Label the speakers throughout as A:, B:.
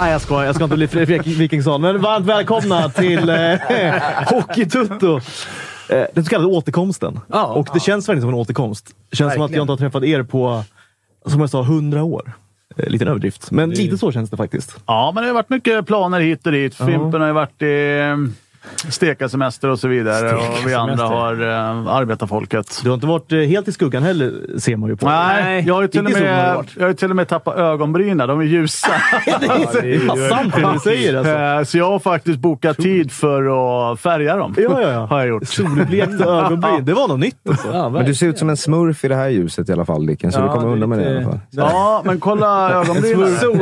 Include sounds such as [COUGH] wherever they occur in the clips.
A: Nej, jag skojar. Jag ska inte bli Fredrik Wikingsson. Men varmt välkomna till eh, [LAUGHS] Hockeytutto! Eh, den så kallade återkomsten.
B: Ja.
A: och det känns verkligen som en återkomst. Det känns som att jag inte har träffat er på, som jag sa, hundra år. Eh, liten överdrift, men lite så känns det faktiskt.
C: Ja, men det har varit mycket planer hit och dit. Fimpen har ju varit i eh, stekasemester och så vidare. Och vi andra har eh, arbetarfolket.
A: Du har inte varit eh, helt i skuggan heller, ser man ju på dig.
C: Nej, jag har ju till och
A: inte så
C: med,
A: underbart.
C: jag har ju till och med tappat ögonbrynen. De är ljusa.
A: det är ju- sant det [LAUGHS] du säger, alltså.
C: Eh, Så jag har faktiskt bokat tid för att färga dem.
A: Ja, ja, ja.
C: Har jag gjort.
A: Solblekta ögonbryn. Det var något nytt alltså.
D: Men du ser ut som en smurf i det här ljuset i alla fall, Dicken. Så du kommer undan med det i alla fall.
C: Ja, men kolla ögonbrynen.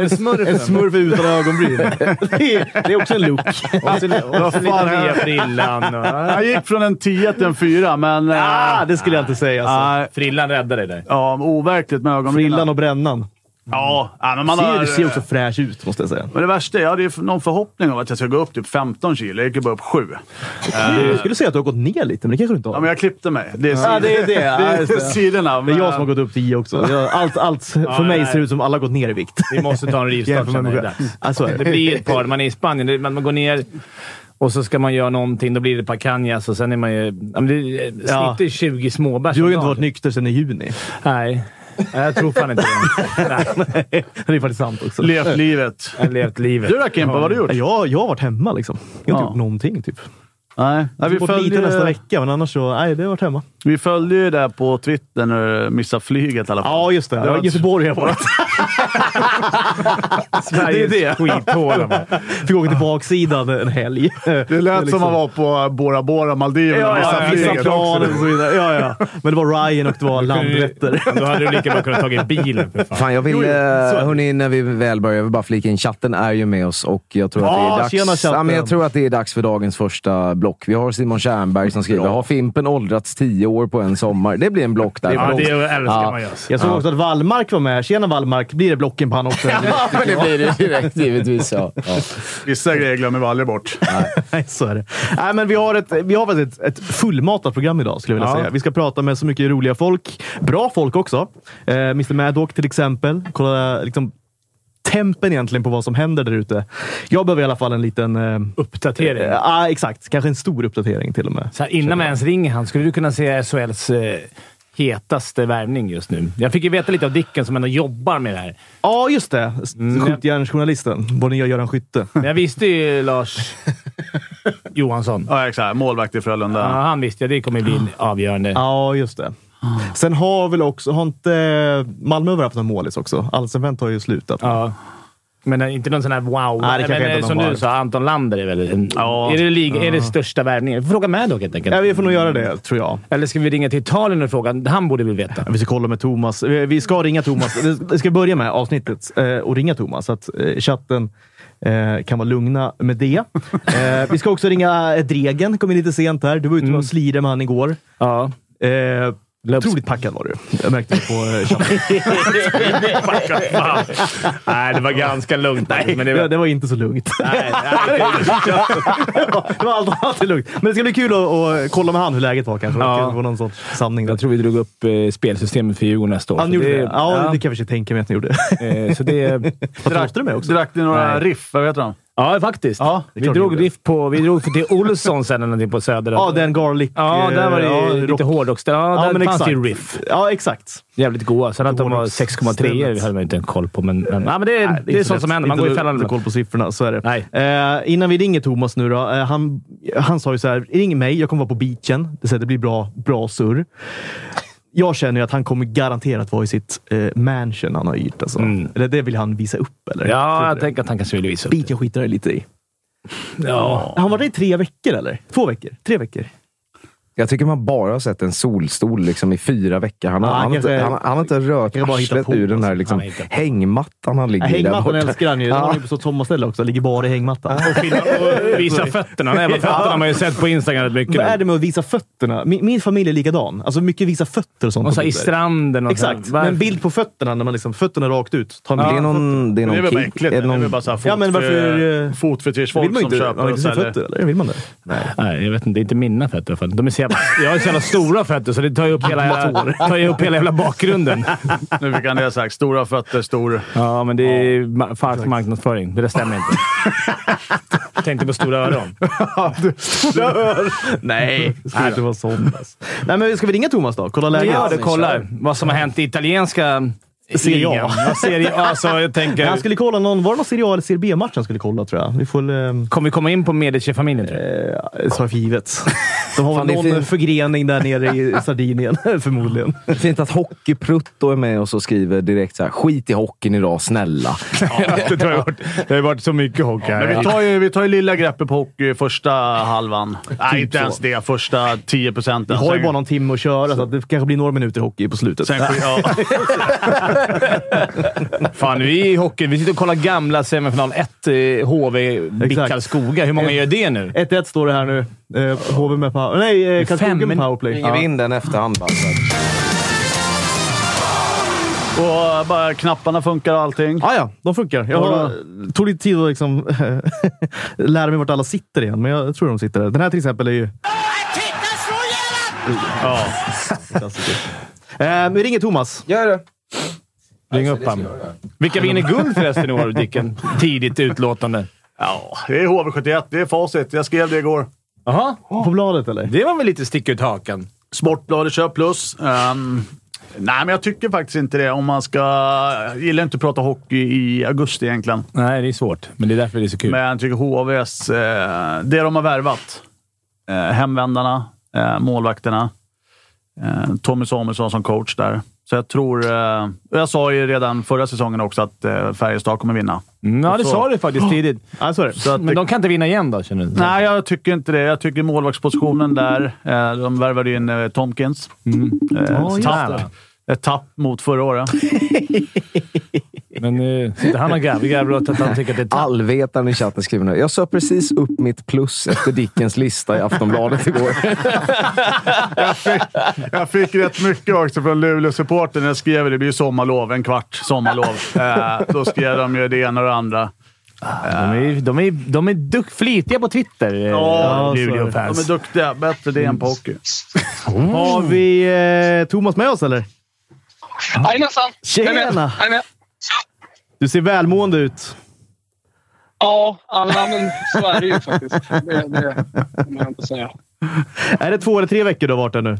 A: En smurf utan ögonbryn. [LAUGHS] Det är, det är också en look.
C: Vad fan är
B: frillan.
C: Jag gick från en 10 till en 4, men... eh,
A: Ah, det skulle jag inte säga. Alltså.
C: nej.
B: Frillan räddade dig.
C: Ja, overkligt med ögonbrynen.
A: Frillan och brännan.
C: Ja, nej, men man
A: Ser,
C: har...
A: du ser också fräsch ut, måste jag säga.
C: Men det värsta är, jag hade ju någon förhoppning om att jag ska gå upp typ 15 kilo. Jag gick ju bara upp 7.
A: Jag skulle säga att du har gått ner lite, men det kanske du inte har.
C: Ja, men jag klippte mig. Det är,
A: Ja, det är
C: [LAUGHS]
A: det. Ja,
C: det är
A: just det.
C: sidorna.
A: Det är
C: men-
A: jag som har gått upp 10 också. Jag- Allt, allt för mig
B: nej.
A: ser ut som alla gått ner i vikt.
B: Vi måste ta en rivstart sen. när det är dags.
A: Ja, så är
B: Det
A: det.
B: blir ett par. Man är i Spanien. Det- Man man går ner och så ska man göra någonting. Då blir det ett par cañas och sen är man ju... ja, men det- Snittet
A: Ja.
B: är 20 småbärs
A: Du har
B: om
A: ju inte
B: dagen.
A: varit nykter sedan i juni.
B: Nej. Nej, Jag tror fan inte det. Nej.
A: [LAUGHS] Nej, det är faktiskt sant också.
C: Levt livet.
B: Jag har levt livet.
C: Du då Kimpa, vad har du gjort?
A: Ja, Jag, jag har varit hemma liksom. Jag har inte
C: Ja.
A: gjort någonting typ.
C: Nej, nej
A: Vi
C: vi,
A: bort lite nästa
C: följde,
A: vecka, men annars så... Nej, det har varit hemma.
C: vi följde ju det på Twitter när du missade flyget i alla fall.
A: Ja, just det.
C: Det var-
A: Göteborg har jag
C: [LAUGHS]
A: varit.
B: Sveriges
A: det är det. [LAUGHS]
B: skithål. man.
A: Fick åka till baksidan en helg. liksom-
C: Det liksom- lät som man var på Bora Bora, Maldiverna.
A: Ja, ja,
C: missade
A: vissa
C: flyget.
A: plan och så vidare. Ja, ja. Men det var Ryan och det var Landvetter.
B: Då hade du lika bra kunnat tagit bilen för fan.
D: Fan, jag vill,
A: Jo, jo, så är det.
D: eh, hörni, när vi väl börjar, jag vill bara flika in. Chatten är ju med oss och jag tror, att det
A: Ja,
D: är dags,
A: tjena, chatten.
D: ja, men jag tror att det är dags för dagens första block. Vi har Simon Tjernberg som skriver “Har Fimpen åldrats 10 år på en sommar?” Det blir en block där.
B: Ja, det älskar
D: Ja.
B: man ju. alltså.
A: Jag såg också att Wallmark var med. Tjena Wallmark! Blir det blocken på han [LAUGHS] också?
D: Ja, men [LAUGHS] det blir det direkt givetvis. Ja. Ja.
C: Vissa grejer glömmer vi aldrig bort.
A: Nej, så är det. Nej, men vi har, ett, vi har faktiskt ett, ett fullmatat program idag, skulle jag vilja
B: Ja.
A: säga. Vi ska prata med så mycket roliga folk. Bra folk också. Eh, Mr Maddock till exempel. Kolla liksom, tempen egentligen på vad som händer där ute. Jag behöver i alla fall en liten... eh,
B: Uppdatering.
A: eh, Ja, exakt. Kanske en stor uppdatering till och med.
B: Så här, innan man ens ringer han, skulle du kunna se SHLs eh, hetaste värvning just nu? Jag fick ju veta lite av Dicken som ändå jobbar med det här.
A: Ja, just det. S- Skjutjärnsjournalisten. Vår nya Göran Skytte.
B: Men jag visste ju Lars Johansson.
C: Ja, exakt. Målvakt i Frölunda.
B: Ja, han visste jag. Det kommer bli avgörande.
A: Ja, just det.
B: Ah.
A: Sen har väl också... Har inte Malmö haft någon målis också? Allsvenskan har ju slutat.
B: Ja. Men eh, inte någon sån här wow.
A: Nej, det kanske
B: Men, eh,
A: inte de
B: som
A: har.
B: du sa, Anton Lander är väl... En,
C: Ja.
B: är, det lig- är det största värvningen? Vi får fråga med dock helt enkelt.
A: Ja, vi får nog göra det, tror jag.
B: Eller ska vi ringa till Italien och fråga? Han borde väl veta.
A: Vi ska kolla med Thomas. Vi vi ska ringa Thomas. Vi ska börja med avsnittet eh, och ringa Thomas, så att eh, chatten eh, kan vara lugna med
B: [LAUGHS]
A: det. Eh, Vi ska också ringa eh, Dregen. Kom in lite sent här. Du var ute och slirade med han igår.
B: Ja. [LAUGHS]
A: Eh,
B: Mm. Löps-
A: Otroligt packad var du. Jag märkte det på eh, chatten.
B: Nej, det var ganska lugnt. Nej, men det
A: Det, det var inte så lugnt.
B: nej, nej.
A: det var [LAUGHS] det var allt annat än lugnt. Men det ska bli kul att, att kolla med han hur läget var kanske.
B: Ja.
A: Det kan vara någon sorts sanning. Där.
B: Jag tror vi drog upp eh, spelsystemet för Djurgården nästa år.
A: Han
B: Så
A: gjorde det.
B: det-
A: Ja, det kan jag i och för sig tänka mig att ni gjorde.
B: ja, eh, så det,
A: Vad tröstar du med också?
C: Drack ni några riff? Vad heter de?
B: ja,
A: [LAUGHS]
B: faktiskt.
A: Ja, det är
B: vi,
A: klart vi
B: drog
A: gjorde.
B: riff på, vi drog till Olsson sen eller någonting på Söder.
A: Ja, den garlic...
B: Ja, där var det
A: eh,
B: ju lite hårdrocksställe. Ja, där fanns det ju riff.
A: Ja, exakt.
B: Jävligt goa. Sen att de var 6,3 hade man inte en koll på, men, men, ja, men det, det är
A: inte
B: sånt som
A: lätt.
B: händer. Man
A: Inte
B: går i
A: du-
B: fällan.
A: inte
B: ibland.
A: koll på siffrorna, så är det.
B: Nej.
A: Eh, innan vi ringer Thomas nu då. Eh, han, han sa ju så här, ring mig. Jag kommer vara på beachen. Det, säger, det blir bra, bra surr. Jag känner ju att han kommer garanterat vara i sitt eh, mansion han har hyrt. Alltså.
B: Mm.
A: Eller det vill han visa upp, eller?
B: Ja, jag tänker att han kanske vill visa upp.
A: Beachen skiter jag lite i.
B: Ja.
A: Han var där i tre veckor, eller? Två veckor? Tre veckor?
D: Jag tycker man bara har sett en solstol liksom, i fyra veckor. Han har,
A: Ja, han
D: han har inte,
A: kanske-
D: han, han har inte rört
A: kanske bara hittar
D: arslet
A: på,
D: ur den
A: alltså.
D: här liksom,
B: Han har hittat på.
D: hängmattan han ligger
A: Nej,
D: i där
A: hängmattan
D: borta.
A: älskar han ju. Den
D: Ja.
A: har han ju på så sommarställe också. Ligger bara i hängmattan.
B: Och, filma, och visa fötterna.
A: [LAUGHS]
B: Nej, men fötterna har man ju sett på Instagram rätt mycket.
A: Vad är
B: nu.
A: det med att visa fötterna? Min, min familj är likadan. Alltså mycket visa fötter och sånt.
B: Och så
A: på
B: här, i
A: bilder.
B: stranden och så här.
A: Exakt.
B: Varför?
A: Men en bild på fötterna, när man liksom, fötterna rakt ut. Ta en
D: Det
A: bild
D: är
A: på fötterna.
D: någon... Det är
C: Det är
D: någon
C: väl bara
D: kick-
C: äckligt?
D: är
C: Det är
D: någon-
C: väl bara så här fot
A: Ja, men varför, eh,
C: för, fotfetischfolk
A: Vill man
C: som
A: inte,
C: köper
A: man vill
C: och
A: inte se
C: säljer.
A: fötter, eller? Vill man det? Nej.
B: Nej, jag vet inte. Det är inte mina fötter i alla fall. De är så jävla, jag har så jävla stora fötter, så det tar ju upp hela, jävla, tar ju upp hela jävla bakgrunden.
C: Nu fick han det sagt. Stora fötter, stor...
B: [LAUGHS] Ja, men det är ma- falsk marknadsföring. Det där stämmer [LAUGHS] inte. Tänkte på stora [LAUGHS] öron.
A: Nej, det [LAUGHS] ska inte vara sånt. alltså. Nej, men ska vi ringa Thomas då? Kolla läget.
B: Ja, du kollar vad som har hänt i italienska
A: Serie A.
B: ligan. Ja, Serie A. Alltså, jag tänker...
A: Nej, han skulle kolla någon, var det någon Serie A eller Serie B-match han skulle kolla, tror jag. Vi får väl...
B: Kommer vi komma in på Medici-familjen, tror du?
A: Eh, så för givet. De har
D: Fan,
A: väl
D: det är
A: någon
D: fint.
A: förgrening där nere i Sardinien, [LAUGHS] förmodligen.
D: Fint att Hockeyprutto är med och så skriver direkt så här, skit i hockeyn idag, snälla.
B: det, tror jag har varit, det har ju varit så mycket hockey här.
C: Men vi tar, ju, vi tar ju lilla greppet på hockey i första halvan. Typ Nej, inte ens det. Första 10 procenten.
A: Vi har ju bara någon timme att köra, så, att det kanske blir några minuter hockey på slutet.
C: Sen, sen, ja.
B: Fan, vi är i hockey. Vi sitter och kollar gamla semifinal 1, eh, HV, BIK
A: Exakt.
B: Karlskoga. Hur många gör det nu?
A: 1-1 står det här nu. Eh, HV med power... Nej, eh, Karlskoga med
B: min-
A: powerplay.
D: Ringer vi in den efterhand bara. så här.
C: Och bara knapparna funkar och allting.
A: Ah, ja, de funkar. Jag
C: Ja,
A: har- tog lite tid att liksom, [LAUGHS] lära mig vart alla sitter igen, men jag tror de sitter där. Den här till exempel är ju... [LAUGHS]
C: Ja.
A: Eh, vi ringer Thomas.
D: Gör det.
B: Ring upp han. Vilka vinner guld förresten i år, Dicken? Tidigt utlåtande.
C: ja, det är HV71. Det är facit. Jag skrev det igår.
B: Jaha,
A: På bladet, eller?
B: det var väl lite stick ut hakan.
C: Sportbladet kör plus. Ehm, nej, men jag tycker faktiskt inte det. Om man ska... Jag gillar inte att prata hockey i augusti egentligen,
B: Nej, det är svårt, men det är därför det är så kul.
C: men jag tycker HVs... Eh, det de har värvat. Eh, hemvändarna, eh, målvakterna. Eh, Tommy Samuelsson som coach där. Så jag tror... Eh, och jag sa ju redan förra säsongen också att eh, Färjestad kommer vinna.
B: Mm, ja, det
C: Så-
B: sa du faktiskt tidigt.
A: Ja, så är det.
C: Så att det-
B: Men de kan inte vinna igen då, känner du?
C: Nej, jag tycker inte det. Jag tycker målvaktspositionen där. Eh, de värvade in eh, Tomkins. Eh,
B: Ja, jävlar.
C: tapp, ett tapp mot förra året.
B: Men eh, sitter han och gräver gräver åt att han tycker att det är tapp.
D: Allvetaren i chatten skriver nu. Jag sa precis upp mitt plus efter Dickens lista i Aftonbladet igår.
C: [LAUGHS] Jag fick rätt mycket också från Luleå-supporten. Jag skrev det blir ju sommarlov, en kvart [LAUGHS] sommarlov. Eh, då skrev de ju det ena och det andra.
B: De är, de är, de är duck, flitiga på Twitter, Eh,
C: Ja,
B: ja,
C: De är
B: Luleåfans.
C: duktiga. Bättre det än på hockey.
A: Har vi eh, Thomas med oss, eller?
E: Jajamensan! Jag är med.
A: Tjena!
E: Jag är med.
A: Du ser välmående ut.
E: Ja, alla, men så är det ju faktiskt. Det, det kommer jag inte säga.
A: Är det två eller tre veckor du har varit där nu?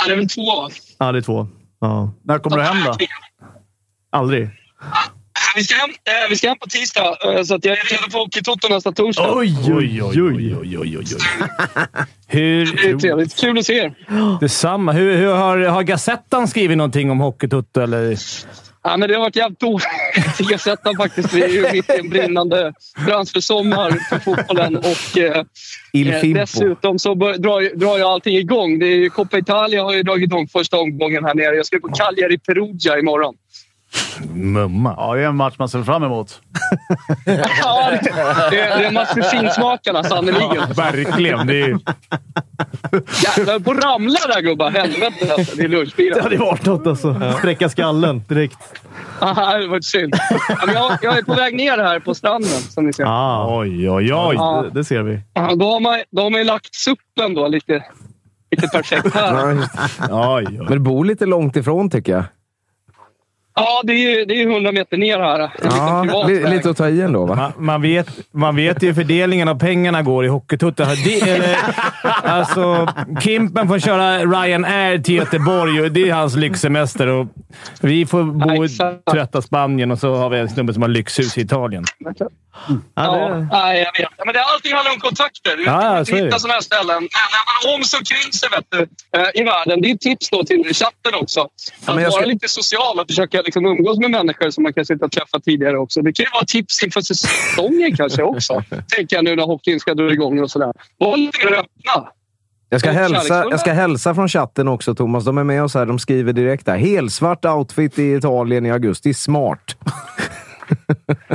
E: Ja, det är väl två, va?
A: Ja, det är två. Ja.
C: När kommer du hem då?
A: Aldrig.
E: Vi ska hem, eh, vi ska hem på tisdag, eh, så att jag är redo på Hockeytoto nästa torsdag.
A: Oj, oj, oj! oj,
E: Det är
B: Hur,
E: trevligt. Kul att se er.
B: detsamma. Hur, hur har, har Gazettan skrivit någonting om Hockeytutto, eller?
E: Ja, men det har varit jävligt [LAUGHS] dåligt. Jag sett den faktiskt. Vi är ju mitt i en brinnande transfersommar för fotbollen. Och, eh,
D: Il
E: Eh,
D: Fimpo.
E: Dessutom så bör, drar, ju- drar ju allting igång. Det är ju Coppa Italia har ju dragit igång första omgången här nere. Jag ska på Cagliari Perugia imorgon.
B: Mumma.
C: Ja, det är en match man ser fram emot.
E: Ja, det, det är en match för finsmakarna sannerligen.
B: Verkligen. Det är,
E: Jävlar, på ramla där gubbar. Helvete alltså. Det är
A: Det
D: [LAUGHS]
A: hade
E: lunchbilen.
A: varit något alltså. Spräcka skallen direkt.
E: Ah, det var synd. Ja, men jag, jag är på väg ner här på stranden som ni ser.
A: Ah,
B: oj, oj, oj.
E: Ja.
A: det, det ser vi.
E: Ah, Då har man, då har man ju lagt suppen då lite, lite perfekt här.
B: oj,
D: Men du bor lite långt ifrån tycker jag.
E: Ja, det är ju det är ju 100 meter ner här. En liten
D: Ja,
E: privat
D: li-
E: väg.
D: lite att ta i ändå va?
B: Man, man, vet, man vet ju hur fördelningen av pengarna går i Hockeytutto. Det- eller, Alltså, Kimpen får köra Ryanair till Göteborg och det är hans lyxsemester. Och vi får bo i
E: Exakt.
B: trötta Spanien och så har vi en snubbe som har lyxhus i Italien.
A: Ja,
E: Ja,
A: det,
E: nej, jag vet. Ja, Men det, allting handlar om kontakter. Du vet,
B: Ja,
E: man
B: ja,
E: kan
B: så är det.
E: hitta sådana här ställen. Men när man om så kring sig vet du, eh, i världen. Det är ett tips då till chatten också. Att
D: men jag
E: vara
D: ska-
E: lite social och försöka liksom umgås med människor som man kanske inte har träffat tidigare också. Det kan ju vara tips inför säsongen kanske
B: [LAUGHS]
E: också. Tänker jag nu när hockeyn ska dra igång och sådär. Var lite mer öppna.
D: Jag ska,
E: Och
D: hälsa,
E: kärleksfulla.
D: jag ska hälsa från chatten också, Thomas. De är med oss här. De skriver direkt där. Helsvart outfit i Italien i augusti. Smart.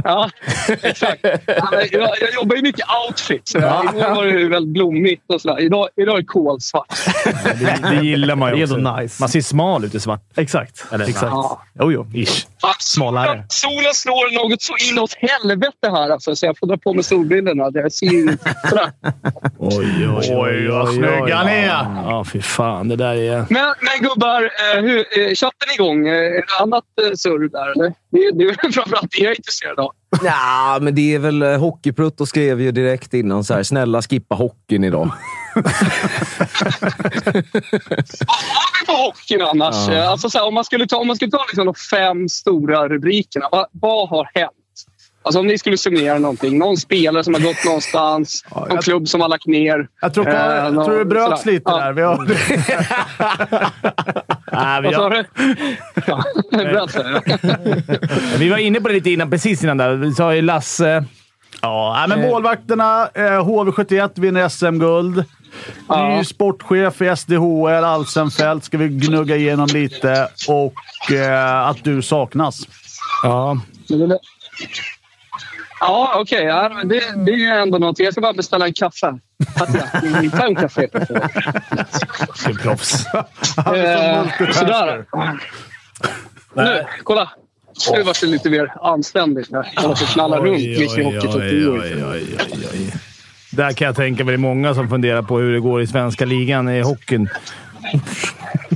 E: Ja, exakt. Ja, men Jag, jag jobbar ju mycket outfit. Så Igår var det ju väldigt blommigt och sådär. Idag, idag är det kolsvart.
B: Det, det gillar man
A: [LAUGHS]
B: ju
A: Det är
B: också.
A: ändå nice.
B: Man ser smal ut i svart.
A: exakt.
B: Eller-
A: exakt.
E: Ja.
A: Jo, jo.
B: Ish.
A: smalare.
E: Solen slår något så inåt helvete här alltså, så jag får dra på mig solbrillorna. Jag ser ju sådär.
B: Oj, oj,
C: Oj, vad snygga ni är.
B: Ja, fy fan. Det där är...
E: Men, men gubbar, eh, hur, eh, chatten är igång. Eh, Är det annat eh, surr där eller? Det, det är [LAUGHS] framförallt det jag är intresserad av.
D: Nja, men det är väl... eh, Hockeyprutto skrev ju direkt innan så här, “Snälla skippa hockeyn idag”.
E: Vad har vi på hockeyn annars?
D: Ja.
E: Eh, Alltså, så här, om man skulle ta, om man skulle ta liksom, de fem stora rubrikerna. Vad, vad har hänt? Alltså, om ni skulle summera någonting. Någon spelare som har
C: [LAUGHS]
E: gått någonstans. någon klubb som har lagt ner.
C: Jag tror, på,
E: Eh,
C: jag
E: någon-
C: tror det bröts
E: sådär.
C: lite
E: Ja.
C: där. Vi har... Nej, Äh, vi
E: Vad sa
C: har...
E: du? [LAUGHS] Ja, bröts det?
B: Vi var inne på det lite innan, precis innan där. Vi sa ju Lasse...
C: [LAUGHS] Ja, nej, men målvakterna. Eh, HV71 vinner SM-guld.
E: Ja.
C: Ny sportchef i SDHL, Alsenfelt, ska vi gnugga igenom lite. Och eh, att du saknas.
B: Ja.
E: Ja, okej. Ja, men det, det är ju ändå något. Jag ska bara beställa en kaffe. Patrik, ta en kaffe.
B: Proffs.
E: Eh, sådär. Nu, kolla. Nu vart det lite mer anständigt. här. Jag måste knalla runt mitt i hockeytotto.
B: Där kan jag tänka mig det är många som funderar på hur det går i svenska ligan i hockeyn.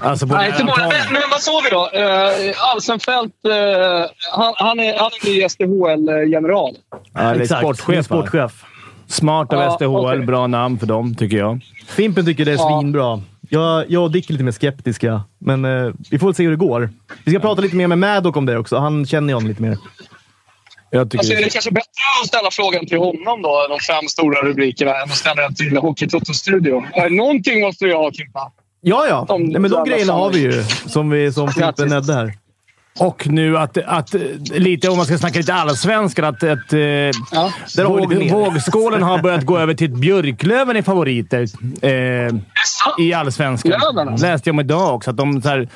B: Alltså på
E: Nej, inte
B: nära
E: bara.
B: plan.
E: Men, men vad såg vi då? Eh, Alsenfelt, eh, han, han är, han är ny SDHL-general.
B: Ja, eller
A: Exakt. Ny
B: sportchef. sportchef.
A: sportchef.
B: Smart av
E: Ja,
B: SDHL.
E: okej.
B: Bra namn för dem, tycker jag.
A: Fimpen tycker det är
E: Ja.
A: svinbra. Jag, jag och Dick är lite mer skeptiska, men eh, vi får väl se hur det går. Vi ska prata lite mer med Maddock om det också. Han känner ju honom lite mer.
B: Jag tycker
E: Alltså, är
B: det.
E: det kanske bättre att ställa frågan till honom då, de fem stora rubrikerna, än att ställa den till Hockeytotto-studio? Eh, Någonting måste vi ha, Kimpa.
A: Ja, ja.
E: Om
A: Nej, men de
E: jävla
A: grejerna har vi ju, som, vi, som Fimpen
E: Grattis.
A: nämnde här.
B: Och nu att, att eh, lite, om man ska snacka lite allsvenskan, att, att eh,
E: Ja.
A: har vi lite
B: våg,
A: mer.
B: vågskålen har börjat gå över till att Björklöven är favoriter eh, i allsvenskan.
E: Löven, alltså.
B: läste jag om idag också. Att de, så här,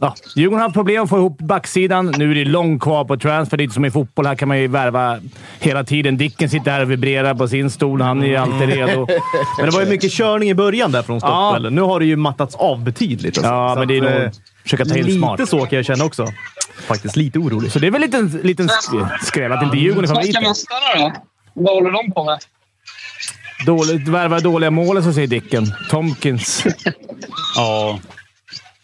B: ja, Djurgården har haft problem att få ihop backsidan. Nu är det långt kvar på transfer. Det är inte som i fotboll. Här kan man ju värva hela tiden. Dicken sitter här och vibrerar på sin stol. Han är ju alltid redo.
E: [LAUGHS]
A: Men det var ju mycket körning i början där från startduellen. Nu har det ju mattats av betydligt. Alltså.
B: Ja,
A: Så
B: men det är
A: att,
B: nog
A: eh,
B: att försöka ta in
A: Lite
B: smart.
A: så kan jag känna också. Faktiskt lite orolig.
B: Så det är väl en liten, liten sk- skräll att inte Djurgården är
E: Svenska
B: favoriter.
E: mästarna då? Vad håller de på med?
B: Dåligt, värva dåliga mål, så säger Dicken. Tomkins.
C: Ja. [LAUGHS]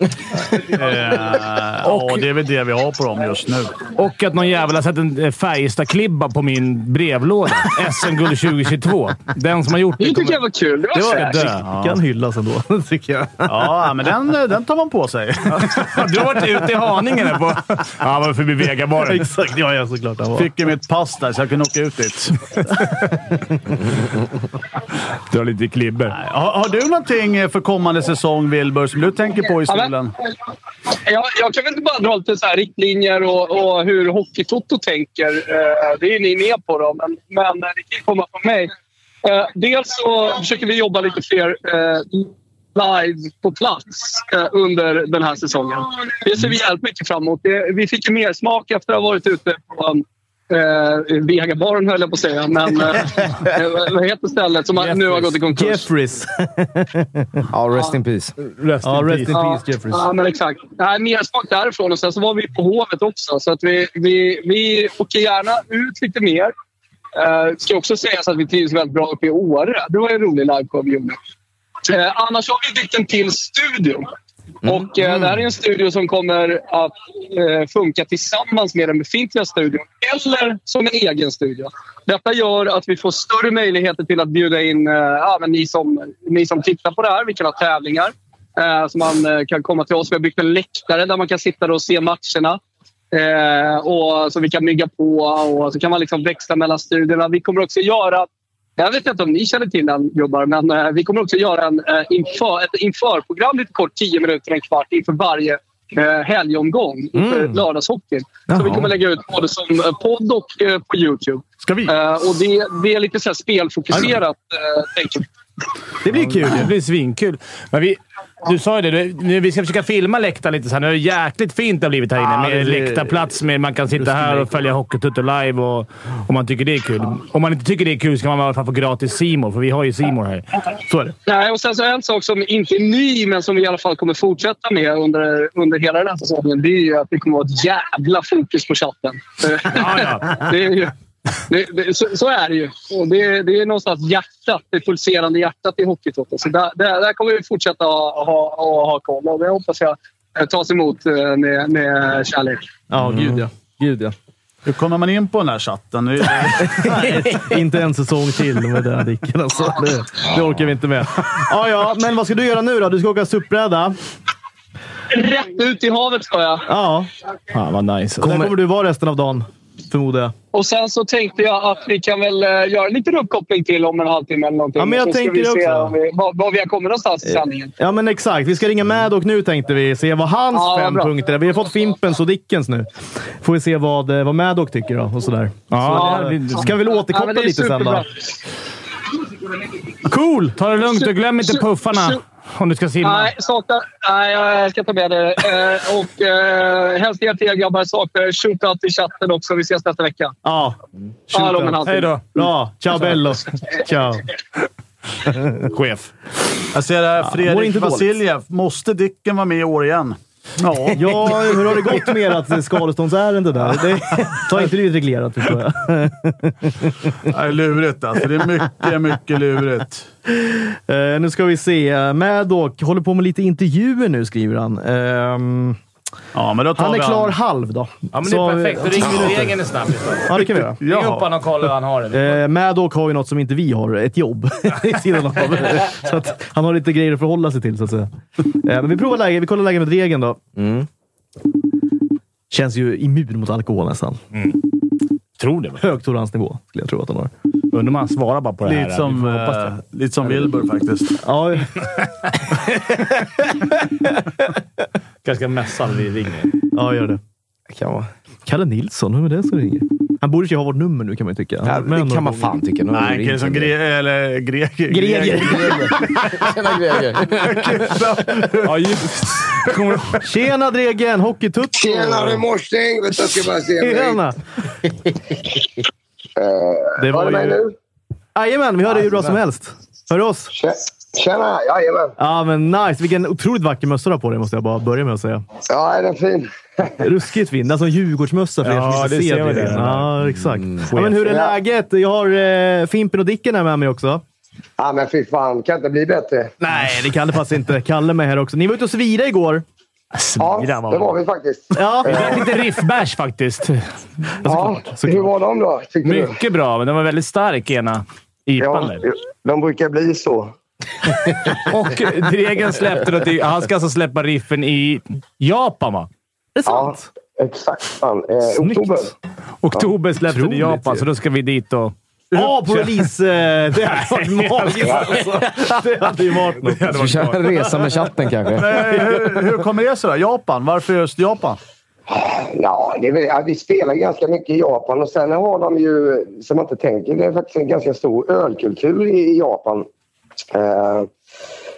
C: eh, och det är väl det vi har på dem just nu.
B: Och att någon jävel har sett en eh, Färjestad-klibba på min brevlåda. SM-guld 2022. Den som har gjort
E: Det
B: det
E: tycker jag
B: kommer...
E: var kul. Det var,
B: Det var
E: fräscht.
B: dö.
A: Kan hyllas
B: [LAUGHS]
A: ändå, [LAUGHS] tycker jag.
C: Ja, men den, den tar man på sig.
B: [LAUGHS] Du har varit ute i Haninge där på... Ja, varför blir Vegabaren?
A: Exakt. Ja, ja, såklart. Han var.
C: Fick ju mitt pass där, så jag kunde åka ut dit.
B: Du har lite klibber.
C: Har, har du någonting eh, för kommande säsong, Wilbur, som du tänker på i
E: Ja,
C: stolen?
E: men, jag, jag kan väl inte bara dra lite så här riktlinjer och, och hur Hockeytoto tänker. Eh, det är ni med på då, men, men det kan ju komma från mig. Eh, dels så försöker vi jobba lite fler eh, live på plats eh, under den här säsongen. Det ser vi jävligt mycket fram emot. Det, vi fick ju mer smak efter att ha varit ute på eh, Vegabaren höll jag på att säga, men eh, eh,
C: [LAUGHS]
E: vad heter stället som har- nu har gått i konkurs?
A: Jeffries.
D: Ja, rest in peace.
B: Rest
A: Ja, rest in
E: Ja.
A: peace Jeffries.
E: Ja, men exakt. Nej, mer smak därifrån. Och sen så var vi på Hovet också, så att vi, vi, vi åker gärna ut lite mer. Uh, ska också sägas att vi trivs väldigt bra uppe i Åre. Det var ju en rolig liveshow vi gjorde. Eh, annars har vi byggt en till studio. Och eh, Det här är en studio som kommer att eh, funka tillsammans med den befintliga studion eller som en egen studio. Detta gör att vi får större möjligheter till att bjuda in eh, ja, men ni, som, ni som tittar på det här. Vi kan ha tävlingar. Eh, så man eh, kan komma till oss. Vi har byggt en läktare där man kan sitta och se matcherna. Eh, och så vi kan mygga på och så kan man liksom växla mellan studierna. Vi kommer också göra, jag vet inte om ni känner till den gubbar, men eh, vi kommer också göra en, eh, inför, ett införprogram lite kort, 10 minuter, en kvart inför varje eh, helgomgång inför lördagshockeyn. Så vi kommer lägga ut både som eh, podd och eh, på Youtube.
C: Ska vi?
E: Eh, och det, det är lite så här spelfokuserat, eh, tänker vi.
A: Det blir kul
B: Det
A: ju.
B: blir svinkul. Men vi, Du sa ju det. Du, nu, vi ska försöka filma läktaren lite så här. Nu är det jäkligt fint det har blivit här inne
A: Ja,
B: med
A: det blir-
B: läktarplats. Med, man kan sitta här och följa Hockeytutto live och, om man tycker det är kul. Om man inte tycker det är kul ska man i alla fall få gratis Simor för vi har ju Simor här. Så är det.
E: Nej, och sen så en sak som inte är ny, men som vi i alla fall kommer fortsätta med under, under hela den här säsongen. Det är ju att det kommer att vara ett jävla fokus på chatten.
B: Ja, ja.
E: [LAUGHS] det är ju, det, det, så, så är det ju. Och det, det är någonstans hjärtat, det pulserande hjärtat i Hockeytoto. Så där, där, där kommer vi fortsätta ha, ha, ha, ha koll. Och det hoppas jag eh, tas emot eh, med, med kärlek.
A: Ja, gud ja. Gud, ja.
C: Hur kommer man in på den här chatten?
A: [LAUGHS]
C: Det är-
A: Inte en säsong till med den dicken alltså. Det, det orkar vi inte med. Ja, ja, men vad ska du göra nu då? Du ska åka SUP-bräda.
E: Rätt ut i havet ska jag.
A: Ja,
B: Fan vad nice.
A: där kommer du vara resten av dagen, förmodar jag.
E: Och sen så tänkte jag att vi kan väl eh, göra en liten uppkoppling till om en halvtimme eller någonting.
A: Ja, men jag
E: så ska
A: tänker
E: vi
A: det
E: se
A: också. Eh,
E: om vi, var, var vi har kommit någonstans i sändningen.
A: Ja, men exakt. Vi ska ringa med och nu tänkte vi se vad hans
E: Ja, vad
A: fem
E: bra.
A: punkter är. Vi har fått Fimpens och Dickens nu. Får vi se vad, eh, vad Maddock tycker då och sådär.
B: Ja,
A: Så,
B: det-
A: eh, ska vi väl återkoppla
E: men det är
A: lite sen
E: superbra.
A: då? Cool!
B: Ta det lugnt och glöm inte
E: Su-
B: puffarna
E: su-
B: om du ska simma.
E: Nej, saknar, nej, jag ska ta med det. Eh, och eh, hälsningar till er grabbar. Saknar er. Shootout i chatten också. Vi ses nästa vecka.
A: Ja,
E: Hallå, men
B: Hej då,
A: bra. Ciao bello. Ciao.
B: chef.
C: Jag ser här,
A: mår
C: Fredrik
A: inte dåligt.
C: Vasiljev. Måste Dicken vara med i år igen?
A: [LAUGHS]
C: Ja.
A: Ja, hur har det gått med ert skadeståndsärende där? Det har inte blivit reglerat, förstår jag.
C: Det är lurigt alltså. Det är mycket, mycket lurigt.
A: Eh, nu ska vi se. Eh, Maddock håller på med lite intervjuer nu, skriver han. Ehm,
C: Ja, men då tar
A: han är
C: vi
A: klar halv då.
B: Ja, men det
A: Så,
B: är perfekt. Då
A: eh,
B: ringer vi regeln snabbt.
A: Ja, det kan vi göra.
B: Ring upp honom och kolla hur han har det.
A: Eh, Maddock har ju något som inte vi har, ett jobb. [LAUGHS] i sidan av. så att han har lite grejer att förhålla sig till, så att säga. Eh, men vi provar läget. Vi kollar läget med regeln då.
B: Mm.
A: Känns ju immun mot alkohol nästan.
B: Tror det.
A: Hög toleransnivå, skulle jag tro att han har.
B: Undrar om han svarar bara på det här.
C: Lite som,
B: Vi får hoppas
C: eh, lite som Wilbur
A: [LAUGHS]
C: faktiskt.
A: Ja,
B: Ganska mässan vi ringer.
A: ja gör det. Kan vara. Kalle Nilsson, vem är det som ringer? Han borde ju ha vårt nummer nu, kan man ju tycka.
D: Ja,
A: Han- men-
D: det kan man fan tycka. Nu har
C: Nej,
D: vi
C: en kille
D: ringt
C: som
D: en del. [LAUGHS]
C: Gre- eller Greger.
A: Greger.
D: Tjena
C: [LAUGHS]
D: Greger!
B: Ja, just.
A: Tjena Dregen! Hockeytutto!
F: Tjenare morse helvete jag ska bara se dig.
A: Tjena! Det
F: Hör
A: var
F: du mig
A: ju...
F: nu?
A: Jajamän, vi hör dig hur bra som helst. Hör du oss?
F: Tje- Tjena, jajamän.
A: Ja, men nice. Vilken otroligt vacker mössa du har på dig, måste jag bara börja med att säga.
F: Ja, är den fin? [LAUGHS]
A: Ruskigt fin. Det är som Djurgårdsmössa för er som
B: Ja,
A: inte
B: det ser
A: ser
B: jag
A: det.
B: det.
A: Ja, exakt. ja, men hur är
F: Ja.
A: läget? Jag har eh, Fimpen och Dicken här med mig också.
F: Ja, men fy fan. Kan inte bli bättre.
A: Nej, det kan det faktiskt inte. Kalle med här också. Ni var ute och svira igår.
F: Ja, det var vi faktiskt.
A: Ja,
B: Lite riffbärs faktiskt. Alltså,
F: Ja,
A: såklart.
F: hur var de då, tyckte du?
B: Mycket bra, men den var väldigt stark ena ipan.
F: Ja,
B: där.
F: de brukar bli så.
B: Och Dregen släppte något. i- Han ska alltså släppa riffen i Japan, va?
A: det är
F: Ja,
A: sant.
F: exakt. Fan. Eh, oktober.
B: Oktober släppte den i
A: Otroligt
B: Japan,
A: ju.
B: så då ska vi dit och...
A: Ja, Ah, på release. Eh, det hade varit magiskt alltså. Det hade ju varit något.
D: Vi kör en resa med chatten kanske.
C: Eh, hur, hur kommer det sig då? Japan? Varför just Japan?
F: Ja, det är, väl- ja, vi spelar ganska mycket i Japan och sen har de ju, som man inte tänker, det är faktiskt en ganska stor ölkultur i, i Japan. Eh,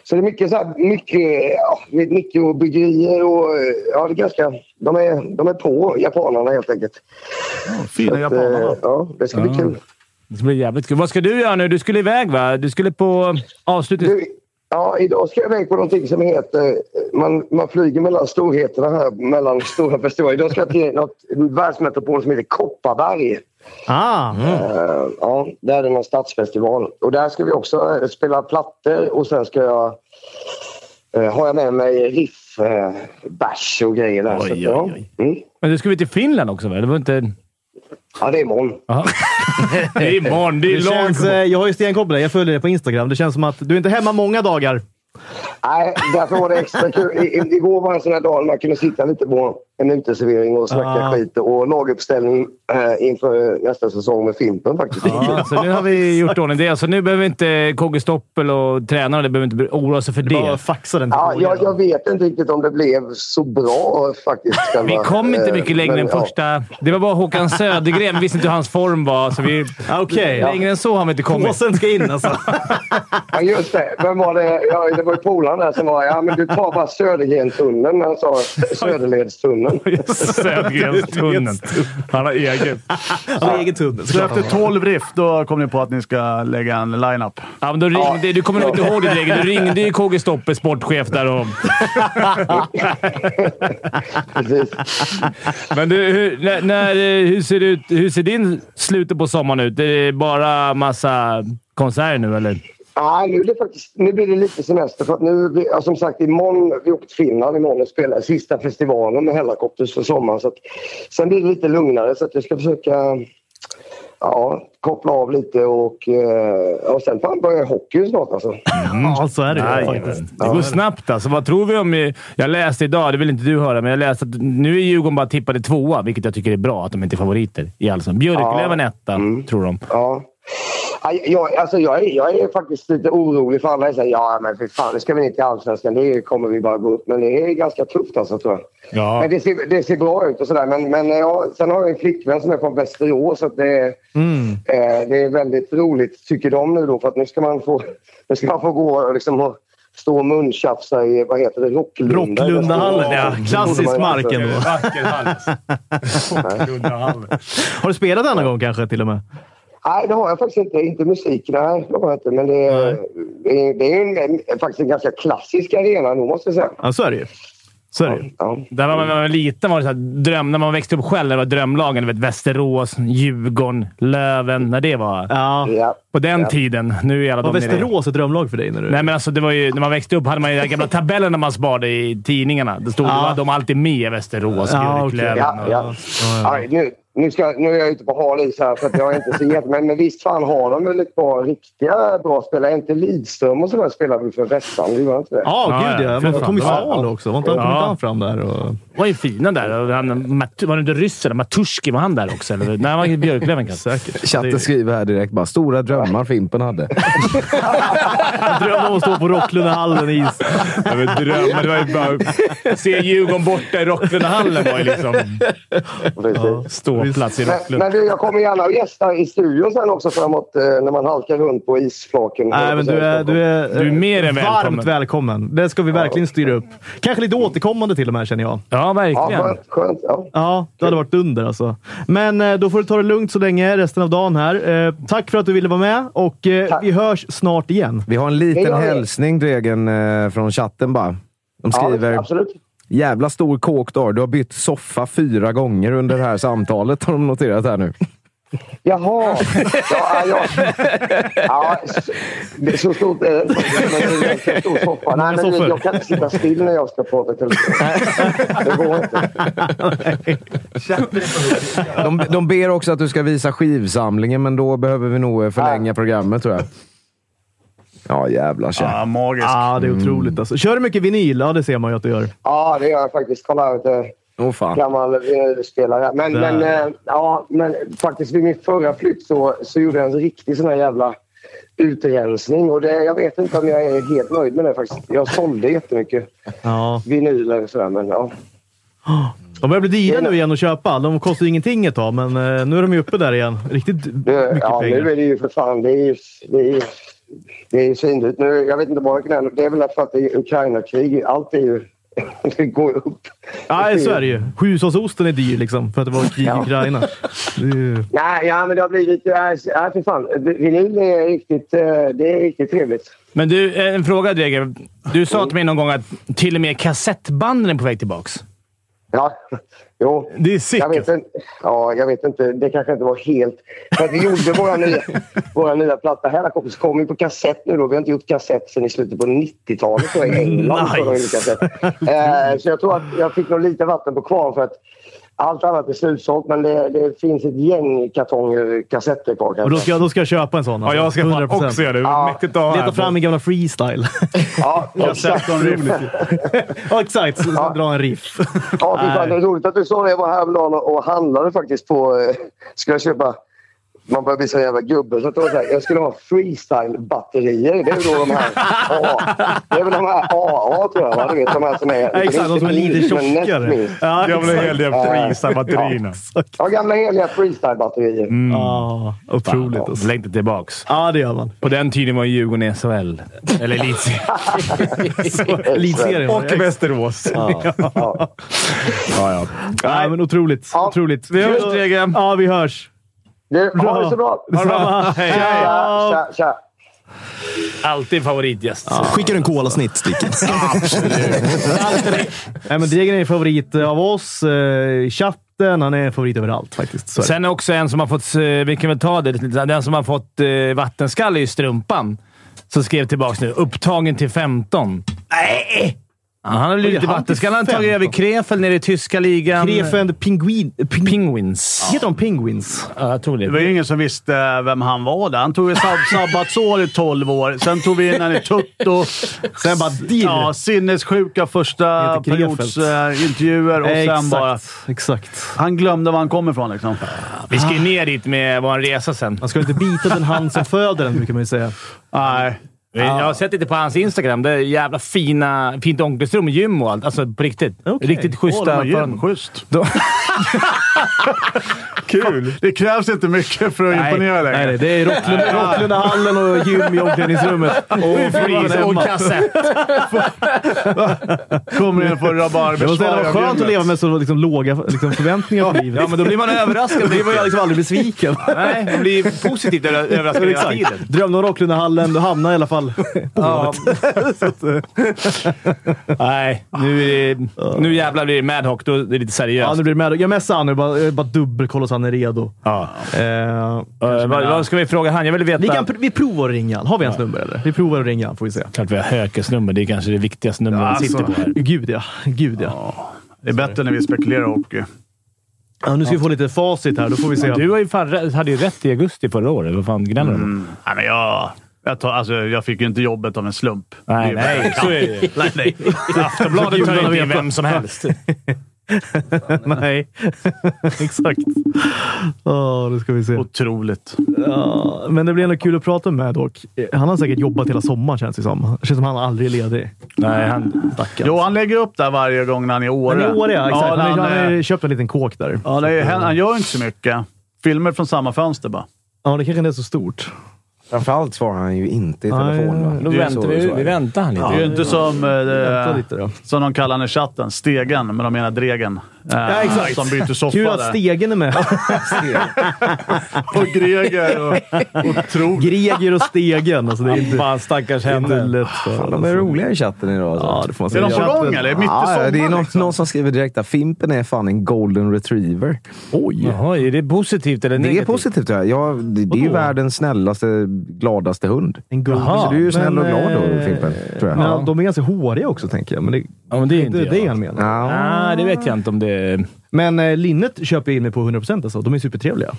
F: så det är mycket, så här, mycket ja, det är mikrobryggerier och eh, ja, det är ganska, de, är, de är på japanerna helt enkelt.
C: Fina
F: Så, eh,
C: japanerna.
F: ja, det ska bli kul.
B: Det ska bli jävligt kul. Vad ska du göra nu? Du skulle iväg, va? Du skulle på avslutning...
F: Du, ja, idag ska jag iväg på någonting som heter... Man, man flyger mellan storheterna här, mellan stora för stora. Idag ska jag till något världsmetropol som heter Kopparberg.
A: Ah,
B: Mm.
F: Eh, ja, där är det någon stadsfestival. Och där ska vi också eh, spela plattor och sen ska jag... Uh, har jag med mig riff, eh, bärs och grejer där. så, att, ja. Mm.
B: Men du skulle väl till Finland också, va? Det var inte...
F: ja, det är imorgon.
B: Aha. Det är imorgon. Det är
A: det
B: långt.
A: känns, eh, jag har ju stenkoll på dig. Jag följer dig på Instagram. Det känns som att du är inte hemma många dagar.
F: Nej, därför var det extra kul. I, i, igår var en sån här dag när man kunde sitta lite på en uteservering och snacka
B: Ah.
F: skit och laguppställning eh, inför nästa säsong med Fimpen
B: [LAUGHS]
F: faktiskt.
B: Ja, så nu har vi gjort ordning det. Så nu behöver inte KG Stoppel och tränarna det behöver inte bry- oroa sig för
A: Bara
B: det.
A: faxa den till
F: Ja,
A: Borgen.
F: jag, jag vet inte riktigt om det blev så bra faktiskt.
B: Vi
F: själva,
B: kom inte
F: eh,
B: mycket längre
F: men,
B: än
F: ja.
B: första... Det var bara Håkan Södergren. Vi visste inte hur hans form var, så vi...
A: Okej.
B: Längre än så har vi inte kommit.
A: Påsen ska in
B: [LAUGHS]
A: alltså.
F: Ja, just det. Vem var det? Ja, det var ju polaren där som var ja, men du tar bara Södergrenstunneln. Han sa Söderledstunneln.
B: [LAUGHS] Södergrenstunneln. Han har egen.
A: Han har egen tunnel.
C: Så efter 12 riff, då kom ni på att ni ska lägga en line-up.
B: Ja, men då ringde, du kommer nog inte ihåg det direkt. Du ringde ju KG Stoppe, sportchef, där och...
F: Precis.
B: Men du, hur, när, när, eh, hur, ser det ut, hur ser din slutet på sommaren ut? Är det bara massa konserter nu, eller?
F: Ja, nu, är det faktiskt, nu blir det lite semester. För att nu, blir- ja, som sagt, imorgon, vi åker till Finland imorgon och spelar sista festivalen med Hellacopters för sommaren. Så att, sen blir det lite lugnare så att jag ska försöka ja, koppla av lite och, eh, och sen fan börjar hockey snart alltså.
A: Ja, så är det ju faktiskt.
B: Det går snabbt alltså. Vad tror vi om... eh, Jag läste idag, det vill inte du höra, men jag läste att nu är Djurgården bara tippade tvåa, vilket jag tycker är bra att de inte är favoriter i Allsvenskan. Björklöven etta,
A: Mm.
B: tror de.
F: Ja. Ja, Jag, alltså jag, är, jag är faktiskt lite orolig för alla säger ja men för fan, nu ska vi ner till allsvenskan. Det kommer vi bara gå upp. Men det är ganska tufft alltså tror jag.
B: Ja.
F: Men det ser, det ser bra ut och sådär. Men, men ja, sen har jag en flickvän som är från Västerås. Så att det, är-
A: Mm.
F: eh, det är väldigt roligt tycker de nu då. För att nu ska man få, nu ska man få gå och liksom och stå och muntjafsa i, vad heter det, Rocklunda.
A: Rocklundahallen, ja.
F: Västerås.
A: Klassisk mark ändå.
B: Vacker hals.
A: Har du spelat denna gång kanske till och med?
F: Nej, det har jag faktiskt inte. Inte musik, nej. Det har jag inte. Men det, är- det, är- det är en, en- faktiskt en ganska klassisk arena nog, måste jag säga.
A: Ja, så är det ju. Så är det ju.
F: Ja.
B: Där var man, när man var liten var det så här, dröm, när man växte upp själv, det var drömlagen. Du vet, Västerås, Djurgården, Löven. När det var.
A: Ja.
F: Ja.
B: På den tiden. Nu är alla
A: Var
B: de nere i-
A: Västerås ett drömlag för dig? När du...
B: Nej, men alltså, det var ju, när man växte upp hade man ju de gamla tabellerna man sparade i tidningarna. Det stod
A: Ja.
B: då var de alltid med. Västerås,
A: Ja, okej.
B: Björklöven.
F: Ja,
B: och-
F: ja. Aj, nu, nu, ska, nu är jag ute på hal is här för att jag är inte så jätte... Men, men visst fan har de väl ett par riktiga bra spelare? Inte Lidström och sådär spelar väl för Västland? Gör han inte det?
A: Ja,
B: Ja,
A: gud
B: ja.
A: ja.
B: För
A: Men
B: fan.
A: Tommy
B: Ja.
A: Salo också. Var inte han, kom
B: Ja.
A: inte han fram där? Och...
B: var ju fina där. Och Han, Mat- var det inte ryssen? Matuski, var han där också? Eller? Nej, han var i Björklöven kanske. Säkert.
D: Chatten skriver här direkt bara “Stora drömmar Fimpen hade”.
A: Jag drömmer om att stå på Rocklundahallen i
B: [LAUGHS]
A: is.
B: Jag vet, drömmen, det var ju bara... Se Djurgården borta i Rocklundahallen var ju liksom
F: Precis.
B: ståplats i
F: Men,
B: Rocklunda.
F: men du, jag kommer gärna och gästa i studion sen också framåt eh, när man halkar runt på isflaken.
A: Nej, men du är, du är,
B: Du är mer än välkommen.
A: varmt välkommen. Det ska vi verkligen styra upp. Kanske lite återkommande till och med, känner jag.
B: Ja,
F: Ja,
B: verkligen.
F: skönt. skönt ja.
A: Ja, det hade varit under alltså. Men eh, då får du ta det lugnt så länge resten av dagen här. Eh, Tack för att du ville vara med och eh,
F: Tack.
A: vi hörs snart igen.
D: Vi har en
F: Hej
D: liten
F: då.
D: hälsning Dregen eh, från chatten bara. De skriver
F: ja absolut.
D: “Jävla stor kåk du har. Du har bytt soffa fyra gånger under det här samtalet” har de noterat här nu.
F: Jaha! Ja, ja, ja, så- det är så stort. eh, men det är en ganska stor soffa. Nej, men
A: soffor.
F: jag kan inte sitta still när jag ska prata i telefon. Det går inte.
D: De, de ber också att du ska visa skivsamlingen, men då behöver vi nog eh, förlänga programmet tror jag. Ja, jävlar tjej.
C: Ah, magiskt.
A: [LAUGHS] Ja, ah, det är otroligt alltså. Kör du mycket vinyl? Ja, det ser man ju att du gör.
F: Ja, det gör jag faktiskt. Kolla ut det.
D: Åh fan.
F: Gammal eh, spelare. Men,
A: Där.
F: men, eh, ja, men faktiskt vid min förra flytt så, så gjorde jag en riktig sån här jävla utrensning. Och det, jag vet inte om jag är helt nöjd med det faktiskt. Jag sålde jättemycket
A: Ja.
F: vinyler och sådär. Men, ja.
A: De börjar bli dyra nu igen att köpa. De kostar ju ingenting ett tag, men eh, nu är de ju uppe där igen. Riktigt
F: Det,
A: mycket
F: ja, nu
A: pengar.
F: är det ju för fan... Det är ju, det är, ju- det är ju synligt. Nu, jag vet inte bara det Det är väl för att det är Ukraina-krig. Allt är [LAUGHS] ju... Det går ju upp.
A: Nej, så är det ju. Hushållsosten är dyr liksom, för att det var krig i
F: Ja.
A: Ukraina. Det är ju...
F: Nej, ja, men det har blivit... Nej, nej, för fan. Vinyl är riktigt, eh, det är riktigt trevligt.
B: Men du, en fråga Dreger. Du sa till mig någon gång att till och med kassettbanden är på väg tillbaks.
F: Ja, [LAUGHS] jo.
B: Det är sick.
F: Jag vet, inte, ja, jag vet inte. Det kanske inte var helt... För att vi gjorde
A: [LAUGHS]
F: våra nya, våra nya platta. Här kompis kom ju på kassett nu då. Vi har inte gjort kassett sedan i slutet på 90-talet tror jag, i England.
A: Nice.
F: Nice. Eh, så jag tror att jag fick nog lite vatten på kvar för att Allt annat är slutsålt, men det, det finns ett gäng kartonger kassetter kvar. kan jag
A: Och då
F: säga.
A: ska, då ska jag köpa en sån.
B: Ja,
A: alltså.
B: jag ska fan
A: 100%.
B: också göra det.
F: Ja.
B: Mäktigt att ha här.
A: Leta fram min gamla freestyle. [LAUGHS]
F: Ja, exakt.
A: ja, exakt. Så, så dra en riff.
F: Ja, fy fan, det är roligt att du sa det. Jag var häromdagen och och handlade faktiskt på... eh, Skulle jag köpa... Man börjar bli så jävla gubbe. Så att det var så här, jag skulle ha freestyle-batterier. Det är väl då de här AA. Det är väl de här AA, tror jag. Va? Du vet, de här som är...
A: Ja, exakt, de som är lite
F: men näst
A: tjockare.
F: minst.
A: Ja,
B: Jag vill ha hel del frisa batterierna.
F: Ja, gamla heliga freestyle-batterier.
A: Mm. Ja, otroligt. alltså.
B: Längtar tillbaks.
A: Ja, det gör man.
B: På den tiden var Djurgården i SHL. Eller elitserien.
A: Elitserien. var det.
B: Och Västerås. [LAUGHS] Ja,
F: Ja.
B: ja.
A: Ja, men otroligt.
F: Ja.
A: otroligt.
B: Vi hörs, Dregen.
A: Ja, vi hörs.
F: Du, ha det så bra!
A: Samma.
B: Hej,
F: Tja,
B: hej.
F: tja, tja.
B: Alltid favoritgäst.
G: Skickar du en kolasnitt, Sticken?
A: Nej, men Degen är favorit av oss. eh, Chatten. Han är favorit överallt faktiskt. Så är det.
B: Sen är också en som har fått, eh, vi kan väl ta det lite, den som har fått eh, vattenskalle i strumpan. Som skrev tillbaka nu. Upptagen till 15. Nej! Ja, Han har blivit
A: Oj,
B: lite
A: han till
B: vattenskalle. Han har tagit
A: 15.
B: över Krefeld nere i tyska ligan.
A: Krefeld Pinguin... Ping,
B: Penguins.
A: Heter de Penguins?
B: Ja, jag tror
C: Det var
B: det.
C: ju ingen som visste vem han var där. Han tog ett
A: [LAUGHS]
C: sab- sabbatsår i 12 år. Sen tog vi in honom i Tutto.
A: Sen bara dirr.
C: Ja, sinnessjuka första
A: Heter Krefeld.
C: periods eh, intervjuer och sen
A: Exakt.
C: bara...
A: Exakt.
C: Han glömde var han kommer ifrån liksom.
B: Vi ska ju ner dit med vår resa sen.
A: Man ska inte bita den hand som föder den, brukar man ju säga.
C: Nej.
B: Jag har sett lite på hans Instagram. Det är jävla fina, fint omklädningsrum, gym och allt. Alltså på riktigt.
A: Okej.
B: Riktigt
C: Åh, de
B: schyssta.
C: har gym.
B: förhållanden.
C: Schysst. [LAUGHS]
A: [LAUGHS]
B: Kul!
C: Det krävs inte mycket för att
B: Nej.
C: imponera längre.
A: Nej, nej, det är Rocklunda- Rocklundahallen och gym i omklädningsrummet.
B: Och freeze och
A: [LAUGHS]
B: kassett.
C: Kommer in på
A: Jag måste säga, det var skönt att
C: rabarbersvarv.
A: leva med så liksom, låga liksom, förväntningar på livet.
B: Ja, men då blir man överraskad.
A: Då blir man ju liksom aldrig besviken. [LAUGHS]
B: Nej, man blir positivt ö- [LAUGHS] överraskad hela tiden.
A: Drömde om Rocklundahallen, du hamnade i alla [LAUGHS] fall
B: Ja. [LAUGHS] eh. Nej, nu, är det- nu jävlar blir det Madhawk. Då är det lite seriöst.
A: Ja, nu blir det med. Jag messade han nu. Bara, jag bara dubbelkolla så han är redo. Eh,
B: Eh, vad, vad ska vi fråga han? Jag vill veta.
A: vi, kan, pr- vi provar att ringa han. Har vi hans nummer eller? Vi provar att ringa han, får vi se.
B: Klart vi har Hökes nummer. Det är kanske det viktigaste numret
C: Ja,
B: vi sitter på
C: alltså.
B: här.
A: Gud ja. Gud ja.
C: Det är bättre när vi spekulerar eh, hockey.
A: ja. Nu ska vi få lite facit här. Då får vi se.
B: Du har ju fan, rä- hade ju rätt i augusti förra året. Vad fan gnäller du om?
C: Nej, men jag, jag, tar, alltså, jag fick ju inte jobbet av en slump.
B: Nej, nej. Så är det ju.
C: nej, nej.
B: Aftonbladet tar inte in vem som helst.
A: [LAUGHS] [LAUGHS] Nej. Exakt. Oh, då ska vi se.
C: Otroligt.
A: Ja, men det blir ändå kul att prata med dock. Eh, Han har säkert jobbat hela sommaren känns det som. Det känns som han aldrig är ledig.
B: Nej, han...
A: Stackarn.
C: Jo, han lägger upp där varje gång när han är i
A: Han
C: Åre.
A: är i Åre, ja. Exakt.
C: Ja,
A: han,
C: han,
A: han
C: eh,
A: har köpt en liten kåk där.
C: ja, det är, han, han gör inte så mycket. Filmer från samma fönster bara.
A: Ja, det kanske inte är så stort.
D: Framförallt svarar han ju inte i telefon. va?
B: Då
D: Det är
B: väntar
D: så-
B: vi,
D: så är
B: vi
D: det.
B: väntar han lite.
C: Det är ju inte som, eh,
A: Vänta
C: det,
A: lite då.
C: som de kallar den i chatten. Stegen, men de menar Dregen. Eh,
A: Ja, exakt.
C: Som byter soffa
A: Kul att
C: där.
A: stegen är med.
C: [LAUGHS] Och Greger och, och Tro.
A: Greger och stegen. Alltså, det är inte,
B: Fan, stackars
A: det är inte
B: henne.
A: lätt
D: [LAUGHS]
A: för
D: Fan, de är roliga i chatten idag. Alltså.
A: Ja, det får man
C: Är
A: säga.
C: de på gång eller? Mitt i
D: Ja, ja,
C: sommaren?
D: det är någon,
C: liksom.
D: någon som skriver direkt att Fimpen är fan en golden retriever.
A: Oj!
B: Jaha, är det positivt eller
D: Det är
B: negativt?
D: positivt. Ja. Jag, det, det är ju
A: Vadå?
D: världens snällaste, gladaste hund.
A: En guld.
B: Jaha,
D: Så du är ju snäll och glad då,
A: eh,
D: Fimpen. Tror jag.
A: Men de är ganska håriga också, tänker jag. Men det,
B: Ja, men det är
A: det
B: inte
A: är
B: jag.
A: det han menar.
D: Ja.
B: Ah, det vet jag inte om det är...
A: Men eh, linnet köper jag in mig på 100% alltså. De är supertrevliga.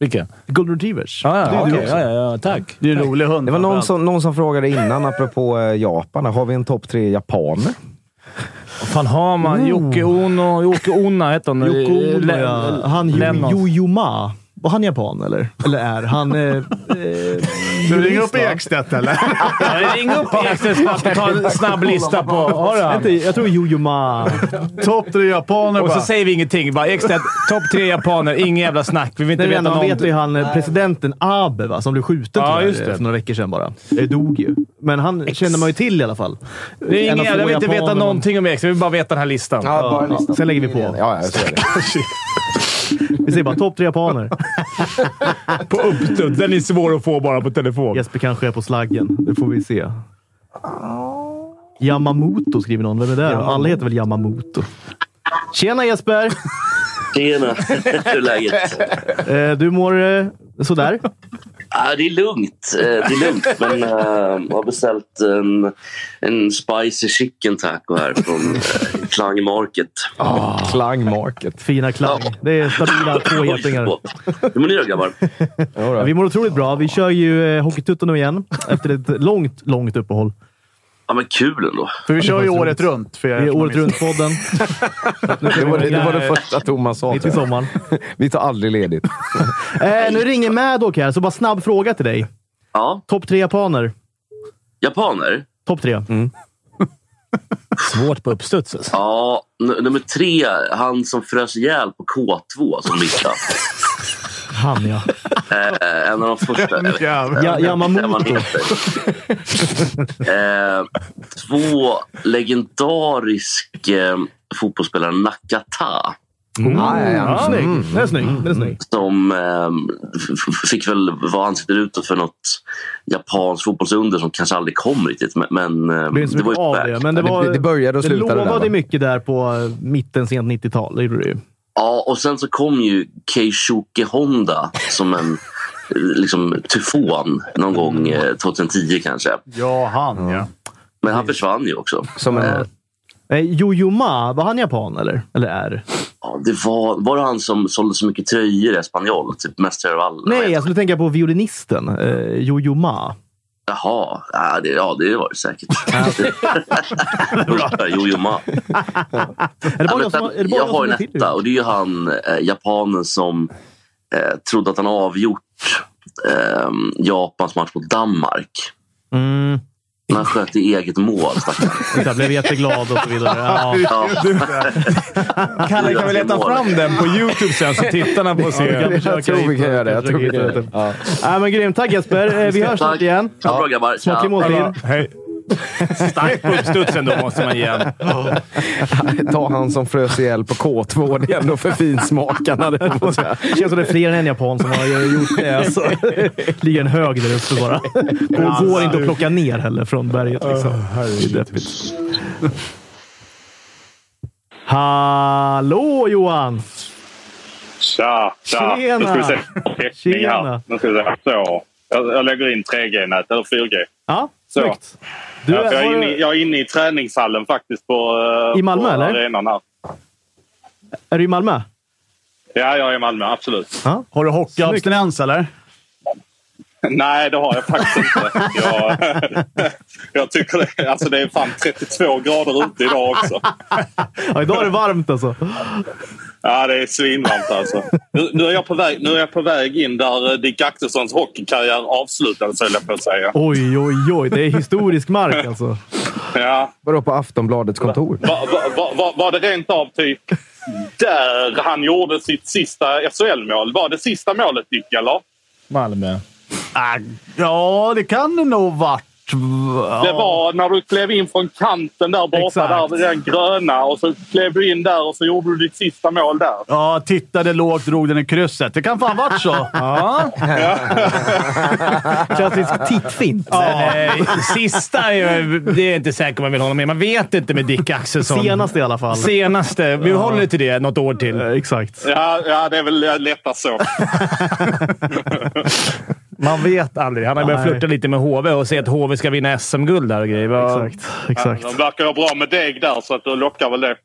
B: Vilka?
A: Golden retrievers.
B: Ah, ja,
A: Det är du
B: okej,
A: också.
B: ja, ja, ja, tack.
C: Det är en rolig hund.
D: Det var någon
C: framförallt.
D: som, någon som frågade innan, apropå eh, Japan. Har vi en topp tre japaner?
B: Vad fan har man? Jocke Ono... Jocke Onna hette hon.
A: Yoko Mm. Ono,
B: Le-
A: ja. Han
B: Lennon.
A: Jojoma. Var han japan eller? Eller är [LAUGHS] han... Eh, eh,
C: Du ringer upp Ekstedt eller? [LAUGHS]
B: Ja, Ring [LAUGHS] upp Ekstedt snabbt och ta en snabb lista på... Har du
A: inte-
B: han?
A: jag tror Jojoma.
C: Topp tre japaner
B: Och
C: bara.
B: så säger vi ingenting. Bara Ekstedt, topp tre japaner. Ingen jävla snack. Vi vill inte
A: Det
B: veta
A: enda man
B: någon...
A: vet är ju han eh, presidenten Abe va, som blev skjuten
B: Ja,
A: tyvärr,
B: just det.
A: eh, för några veckor sedan bara. Det dog ju. Men han känner man ju till i alla fall.
B: Det är
A: En
B: ingen
A: av få
B: jävla... Jag vill inte veta
A: japaner man-
B: någonting om Ekstedt. Vi vill bara veta den här listan.
A: Sen lägger vi på.
D: Ja, ja, så är [LAUGHS] det.
A: Vi säger bara topp tre japaner.
B: På uppstuds. Den är svår att få bara på telefon.
A: Jesper kanske är på slaggen. Det får vi se. Yamamoto skriver någon. Vem är det? Alla heter väl Yamamoto? Tjena Jesper!
H: Tjena! Hur är läget?
A: Eh, Du mår eh, sådär?
G: Ah, det är lugnt. Eh, Det är lugnt. Men eh, jag har beställt en, en spicy chicken taco här från eh, Klang Market.
D: Ah, Klang Market.
A: Fina klang. Det är
D: [LAUGHS]
A: stabila två getingar.
G: Hur mår ni då grabbar?
A: Ja, vi mår otroligt bra. Vi kör ju eh, Hockeytutten nu igen efter ett långt, långt uppehåll.
G: Ja, men kul ändå.
C: För vi kör ju året runt. För
A: Det
C: er
A: är
C: som har
A: Året
C: missat.
A: Runt-podden.
D: Det var det, det var det första Thomas sa.
A: Mitt i sommaren.
D: Vi tar aldrig ledigt.
A: Eh, nu ringer Maddock här, så bara snabb fråga till dig.
G: Ja,
A: Topp tre japaner.
G: japaner.
A: Topp tre.
D: Mm.
B: Svårt på uppstuds alltså.
G: Ja, n- nummer tre. Han som frös ihjäl på K2 som missade.
A: Han ja.
G: Eh, en av de första. jag vet.
A: ja
G: Där man
A: Yamamoto.
G: heter. eh, två legendarisk eh, fotbollsspelare, Nakata,
D: Ja, Mm. ja, ja.
A: Mm. Ja, snygg. Den är snygg. Den är snygg.
G: som eh, f- f- fick väl vad han sitter utåt för något japanskt fotbollsunder som kanske aldrig kom riktigt. Men, men eh,
A: Det blir inte så
G: det var
A: mycket
G: ju
A: av det,
G: värt.
A: men det,
D: Ja, det-
A: var,
D: det började och slutade
A: Det
D: där,
A: lovade
D: va?
A: mycket där på eh, mitten, sent 90-tal. Det gjorde det ju.
G: Ja, och sen så kom ju Keisuke Honda som en eh, liksom, tyfon någon gång
A: Mm.
G: eh, 2010 kanske.
C: Ja, han ja.
G: Men han försvann ju också.
D: Som en,
A: Eh, Jojo Ma, var han japan eller? Eller är?
G: Ja, det var, var det han som sålde så mycket tröjor i Espanyol? Typ mest av alla?
A: Nej, jag skulle tänka på violinisten. Eh, Jojo Ma.
G: Jaha, ja det, ja, det var
A: [LAUGHS]
G: det säkert. Bra. jo, jo, ma.
A: Är det
G: Ja,
A: bara
G: men
A: jag som
G: sen,
A: har- är det bara
G: jag
A: jag som
G: har en
A: känner till
G: etta
A: det?
G: och det är ju han eh, japanen som eh, trodde att han avgjort eh, Japans match mot Danmark.
A: Mm.
G: Men han sköt i eget mål. stackarn.
A: Jag blev jätteglad och så vidare. [LAUGHS] Ja.
G: Ja,
B: Kalle, kan vi leta fram den på YouTube sen så tittarna får se?
A: Jag försöker
D: jag tror vi kan
A: hitta-
D: göra det. Jag tror vi
A: försöker
D: kan göra
A: hitta
D: det. Ja.
A: Ja, men grymt. Tack Jesper. Eh, Vi hörs snart
G: tack.
A: igen.
G: Ja, bra grabbar.
A: Smaklig
G: Tja.
A: måltid.
B: Hej. Starkt på uppstudsen då, måste man ge en.
D: Ta han som frös ihjäl på K2. Det är ändå för finsmakarna. Det får man säga.
A: Det känns som det är fler än en japan som har gjort det. Alltså. Ligger en hög där uppe bara. Och går inte att plocka ner heller från berget. Liksom. Det är deppigt. Hallå Johan!
H: Tja, tja.
A: Tjena.
H: Nu ska vi se. Täckning
A: Tjena.
H: här. Nu ska vi se. Så. Jag, jag lägger in 3G-nät, eller 4G.
A: Ja,
H: Så.
A: snyggt. Du,
H: ja, för jag, är
A: har
H: inne, i-
A: du,
H: jag är inne i träningshallen faktiskt på, eh,
A: I Malmö,
H: på
A: eller?
H: arenan här.
A: är du i Malmö?
H: Ja, jag är i Malmö. Absolut.
C: Har du hockeyabstinens eller?
H: Nej, det har jag faktiskt inte. Jag, [LAUGHS] jag tycker det, alltså det är fan 32 grader ute idag också.
A: Ja, idag är det varmt alltså.
H: Ja, det är svinvarmt alltså. Nu, nu, är jag på väg, nu är jag på väg in där eh, Dick Axelssons hockeykarriär avslutades, höll jag på att säga.
A: Oj, oj, oj. Det är historisk mark alltså.
H: Ja,
D: Vadå på Aftonbladets kontor?
H: Var, var, var- var, var det rent av typ där han gjorde sitt sista SHL-mål? Var det sista målet, Dick? Eller?
B: Malmö.
C: Ah, ja, det kan det nog varit. Ja.
H: Det var när du klev in från kanten där borta,
C: Exakt.
H: där, den gröna. Och så klev du in där och så gjorde du ditt sista mål där.
C: Ja, tittade lågt, drog den i krysset. Det kan fan varit så. Ja.
B: [LAUGHS]
A: Klassisk tittfint.
B: Men, eh, sista är ju- det är jag inte säker man vill ha honom med. Man vet inte med Dick Axelsson.
A: Senast i alla fall.
B: Senaste. Vi håller till det något år till.
A: Eh, Exakt.
H: Ja, ja det är väl eh, lättast
C: [LAUGHS]
H: så.
B: Man vet aldrig. Han har börjat
A: Nej.
B: flirta lite med HV och säga att HV ska vinna SM-guld där och grejer. Vad-
A: Exakt. Exakt.
H: De verkar ju bra med deg där, så att du lockar väl det.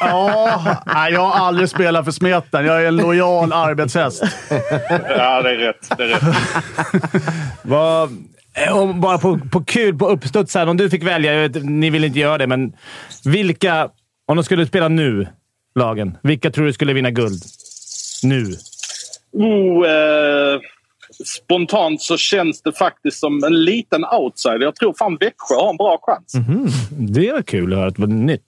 C: ja. Nej, jag har aldrig spelat för smeten. Jag är en lojal arbetshäst.
H: Ja, det är rätt. Det är rätt.
B: Vad, eh, om, bara på, på kul, på uppstuds här. Om du fick välja. Jag vet, ni vill inte göra det, men vilka... Om de skulle spela nu, lagen. Vilka tror du skulle vinna guld? Nu.
H: Oh, eh, spontant så känns det faktiskt som en liten outsider. Jag tror fan Växjö har en bra
C: Mm.
H: chans.
B: Det är kul att höra att det var nytt.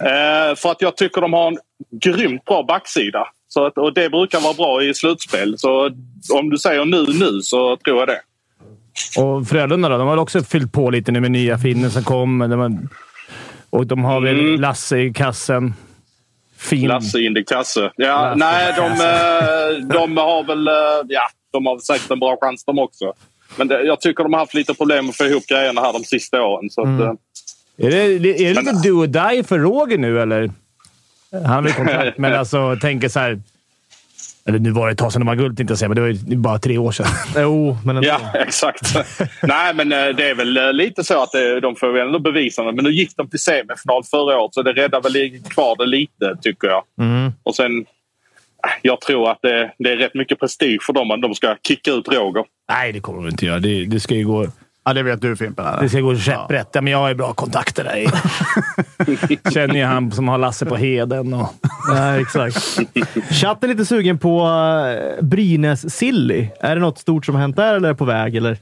H: Eh, för att jag tycker de har en grymt bra backsida. Så att, och det brukar vara bra i slutspel. Så om du säger nu, nu så tror jag det.
B: Och Frölunda då? De har väl också fyllt på lite nu med nya finnen som kom. De har, och de har väl Lasse i kassen. Fin.
H: Lasse in i kasse. Ja,
B: Mm. Lasse
H: nej,
B: in i
H: de, eh, de har väl eh, ja, de har säkert en bra chans de också. Men det, jag tycker de har haft lite problem med att få ihop grejerna här de sista åren. Så att,
B: Mm.
H: eh,
B: Är det, är det lite
H: Men-
B: do or [LAUGHS] die för Roger nu, eller? Han har väl kontrakt, men alltså tänker så här... Eller nu var det ett tag sedan de vann guld, tänkte jag säga, men det var ju bara tre år sedan. [LAUGHS]
A: Jo, Eh, oh, men ändå.
H: Ja, [LAUGHS] exakt. Nej, men eh, det är väl eh, lite så att eh, de får väl ändå bevisa det. Men nu gick de till semifinal förra året, så det räddar väl i- kvar det lite, tycker jag. Och sen, eh, jag tror att det, det är rätt mycket prestige för dem att de ska kicka ut Roger.
B: Nej, det kommer de inte göra. Det, det ska ju gå...
C: Ja, det vet du Fimpen. eller?
B: Det ska gå käpprätt. Ja, men jag har ju bra kontakter [LAUGHS] där. Känner ju han som har Lasse på Heden. Och...
A: Nej,
B: [LAUGHS]
A: exakt. Chatten är lite sugen på eh, Brynäs-Silly. Är det något stort som har hänt där eller är det på väg? Eller?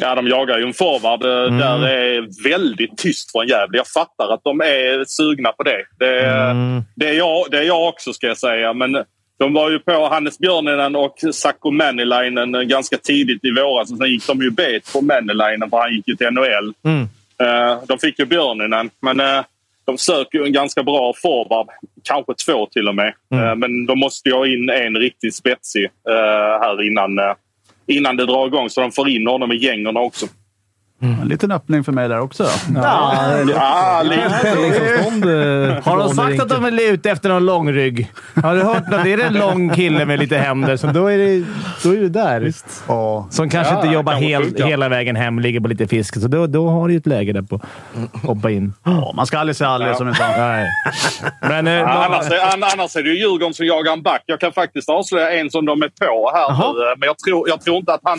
H: Ja, de jagar ju en forward. eh, Där är väldigt tyst från Gävle. Jag fattar att de är sugna på det. Det, är- det, är, jag, det är jag också, ska jag säga. Men de var ju på Hannes Björninen och Sakko Männiläinen ganska tidigt i våras. Och sen gick de ju bet på Männiläinen, för han gick ju till NHL. Eh, De fick ju Björninen, men eh, de söker ju en ganska bra forward. Kanske två till och med. Eh, Men de måste ju ha in en riktigt spetsig eh, här innan, eh, innan det drar igång. Så de får in honom i gängorna också.
C: En liten öppning för mig där också. då.
H: Ja, lite.
A: Pendlingsavstånd.
B: Har de sagt att de är ute efter någon långrygg? Har du hört något? Är det en lång kille med lite händer, så då är det, då är det där.
C: Ja.
B: Som kanske
H: Ja,
B: inte jobbar
H: det kan
B: hel,
H: funka.
B: hela vägen hem, ligger på lite fisk. Så då, då har du ju ett läge där på hoppa in.
C: Ja, man ska aldrig säga aldrig som en sant.
B: Nej. Men eh,
H: Ja, alltså-
B: vad-
H: Annars, är- an- annars är det ju Djurgården som jagar en back. Jag kan faktiskt avslöja en som de är på här nu. eh, Men jag tror, jag tror inte att han,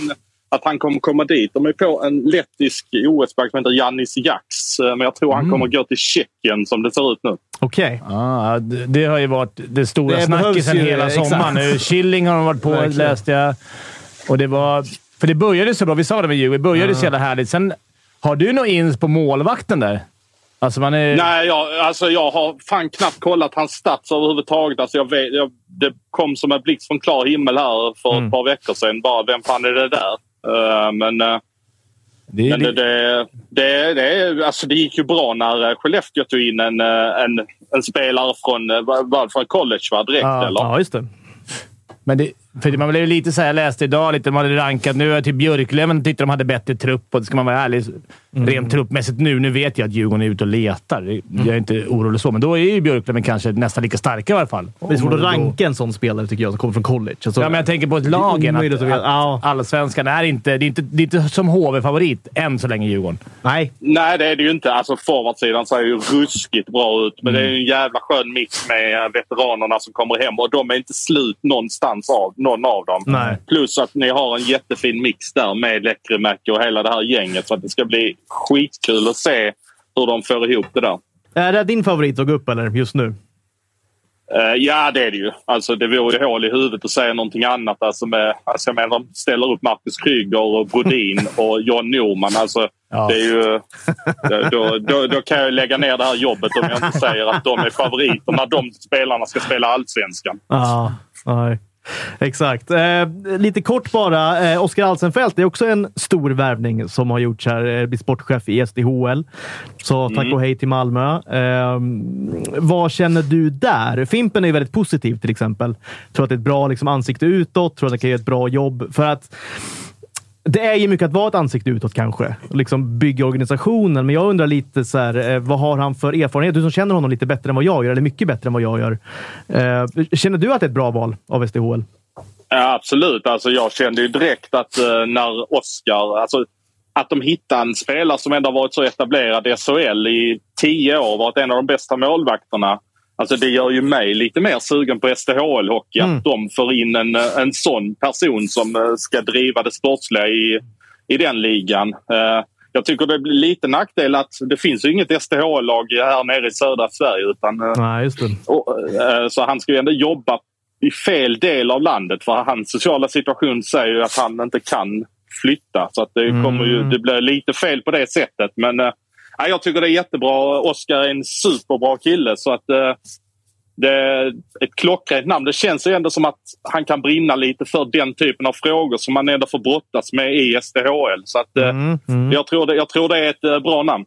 H: att han kommer komma dit. De är på en lettisk OS-back som heter Jannis Jaks. eh, Men jag tror han kommer gå till Tjeckien som det ser ut nu.
A: Okej.
B: Ja, det det har ju varit det stora
A: Det behövs
B: snackisen
A: ju,
B: hela
A: exakt.
B: sommaren. Nu, Killing har de varit på,
A: Verkligen.
B: läste jag. Och det var... För det började så bra. Vi sa det med Djurgården. Det började så jävla härligt. Sen, har du någon ins på målvakten där? Alltså man är...
H: Nej, jag, alltså jag har fan knappt kollat hans stats överhuvudtaget. Alltså jag vet, jag, det kom som en blixt från klar himmel här för
B: Mm.
H: ett par veckor sedan. Bara, vem fan är det där? Eh, men eh,
B: Det är
H: Men det,
B: li-
H: det, det, det, är- alltså det gick ju bra när eh, Skellefteå tog in en, eh, en, en spelare från, eh, vad- vad, från college va? direkt.
B: Ja,
H: eller?
A: Ja, just det.
B: men det för det- man blev ju lite såhär, jag läste idag lite, man hade rankat. Nu är typ Björklöven tyckte de hade bättre trupp och ska man vara ärlig,
A: Mm.
B: rent truppmässigt nu. Nu vet jag att Djurgården är ute och letar. Jag är inte orolig så, men då är ju Björklöven kanske nästan lika starka i alla fall.
A: Det är svårt att ranka en sån spelare tycker jag som kommer från college. Alltså,
B: Ja, men jag tänker på ett
A: är
B: lagen.
A: omöjligt att
B: Att,
A: veta. Ja.
B: att allsvenskan är inte, det är inte, det är inte som HV-favorit än så länge, Djurgården.
A: Nej,
H: Nej, det är det ju inte. Alltså forwardsidan ser ju ruskigt bra ut. Men det är
B: Mm.
H: ju en jävla skön mix med eh, veteranerna som kommer hem och de är inte slut någonstans av någon av dem.
A: Nej.
H: Plus att ni har en jättefin mix där med Lekkerimäki och hela det här gänget. Så att det ska bli skitkul att se hur de får ihop det där.
A: Är det din favorit att gå upp eller just nu?
H: Eh, ja, det är det ju. Alltså, det vore ju hål i huvudet att säga någonting annat. Alltså, med, alltså, jag menar, de ställer upp Marcus Krüger, och Brodin och John Norman. Alltså,
B: Ja.
H: det är ju, då- då, då, då kan jag ju lägga ner det här jobbet om jag inte säger att de är favoriter när de spelarna ska spela allsvenskan.
A: Ja, nej. Exakt. Eh, lite kort bara. Eh, Oskar Alsenfelt är också en stor värvning som har gjorts här. Eh, blir sportchef i SDHL. Så tack och hej till Malmö. Eh, vad känner du där? Fimpen är ju väldigt positiv till exempel. Tror att det är ett bra liksom, ansikte utåt. Tror att det kan göra ett bra jobb. För att det är ju mycket att vara ett ansikte utåt kanske. Och Liksom bygga organisationen. Men jag undrar lite så här, eh, vad har han för erfarenhet? Du som känner honom lite bättre än vad jag gör, eller mycket bättre än vad jag gör. Eh, Känner du att det är ett bra val av SDHL?
H: Ja, absolut. Alltså, jag kände ju direkt att eh, när Oscar... Alltså, att de hittade en spelare som ändå har varit så etablerad i SHL i tio år varit en av de bästa målvakterna. Alltså, det gör ju mig lite mer sugen på SDHL-hockey.
A: Mm.
H: Att de får in en, eh, en sån person som eh, ska driva det sportsliga i, i den ligan. Eh, jag tycker det blir lite nackdel att det finns ju inget SDHL-lag här nere i södra Sverige. Utan, eh,
A: Nej, just det.
H: och, eh, så han ska ju ändå jobba i fel del av landet. För hans sociala situation säger ju att han inte kan flytta. Så att det, kommer ju, det blir lite fel på det sättet. Men eh, ja, jag tycker det är jättebra. Oskar är en superbra kille. Så att, eh, det är ett klockrent namn. Det känns ju ändå som att han kan brinna lite för den typen av frågor som man ändå får brottas med i SDHL. Så att, eh, Jag, tror det, jag tror det är ett eh, bra namn.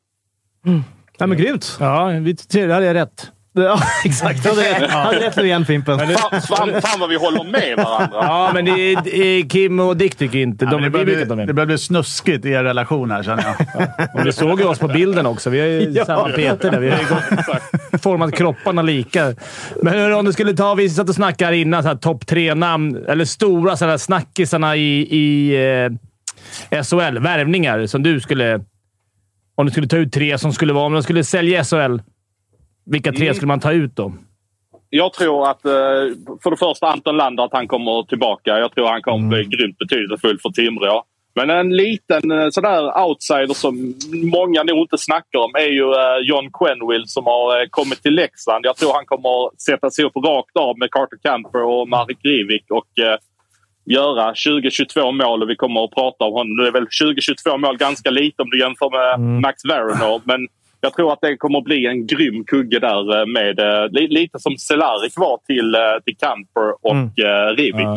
A: Nej, men grymt!
B: Ja, vi, det hade jag rätt.
A: Ja, [LAUGHS] exakt. Hade rätt. Hade rätt nu igen, Fimpen.
H: Fan, fan, fan vad vi håller
B: [LAUGHS]
H: med varandra.
B: Ja, men det är, det är Kim och Dick tycker inte... De,
C: men det,
B: vi
C: börjar
B: vet att de
C: bli,
B: är
C: det börjar bli snuskigt i er relation här, känner [LAUGHS] jag.
B: Och du såg ju oss på bilden också. Vi
C: [LAUGHS]
B: har ju samma Peter där. Vi har ju gått, format kropparna lika. Men hur om du skulle ta... Vi satt och snackade här innan. så här Topp tre-namn, eller stora sådana här snackisarna i, i eh, SHL. Värvningar som du skulle... Om du skulle ta ut tre som skulle vara... Om de skulle sälja SHL, vilka tre skulle man ta ut då?
H: Jag tror att eh, för det första Anton Lander, att han kommer tillbaka. Jag tror han kommer bli grymt betydelsefull för Timrå. Men en liten eh, sådär outsider som många nog inte snackar om är ju eh, John Quenwill som har eh, kommit till Leksand. Jag tror han kommer sätta sig upp rakt av med Carter Camper och Marek Grivik och eh, göra 20-22 mål och vi kommer att prata om honom. Nu är väl 20-22 mål ganska lite om du jämför med Max Verano. Men jag tror att det kommer att bli en grym kugge där eh, med eh, li- lite som Cehlárik var till, eh, till Camper och eh, Rivik.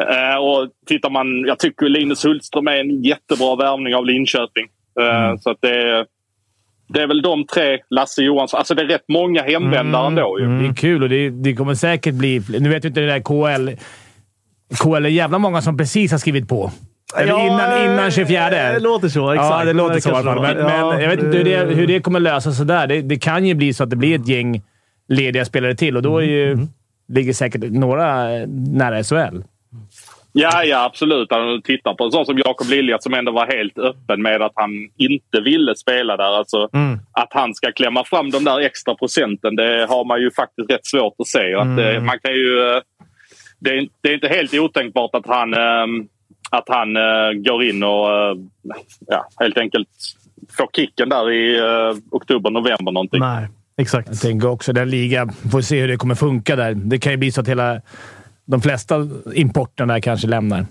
H: Eh, Och tittar man, jag tycker Linus Hultström är en jättebra värvning av Linköping. Eh, Så att det, är, det är väl de tre, Lasse Johansson. Alltså det är rätt många hemvändare ändå. Ju.
B: Det är kul och det, det kommer säkert bli... fl- Nu vet ju inte det där KL... KL är jävla många som precis har skrivit på. Eller innan, innan 24.
A: eh, Det låter så. Exakt.
B: eh, Ja, det låter så i alla fall. Men, men jag vet inte hur det, hur det kommer lösas sådär. Det, det kan ju bli så att det blir ett gäng lediga spelare till och då är ju, ligger säkert några eh, nära SHL.
H: Ja, ja absolut. Om du tittar på en sån som Jakob Lilja som ändå var helt öppen med att han inte ville spela där. Alltså, Att han ska klämma fram de där extra procenten, det har man ju faktiskt rätt svårt att se. Och Att, eh, man kan ju, eh, det, är, det är inte helt otänkbart att han, ehm, att han eh, går in och eh, ja, helt enkelt får kicken där i eh, oktober, november någonting.
A: Nej, exakt.
B: Jag tänker också den ligan. Får se hur det kommer funka där. Det kan ju bli så att hela, de flesta importerna där kanske lämnar.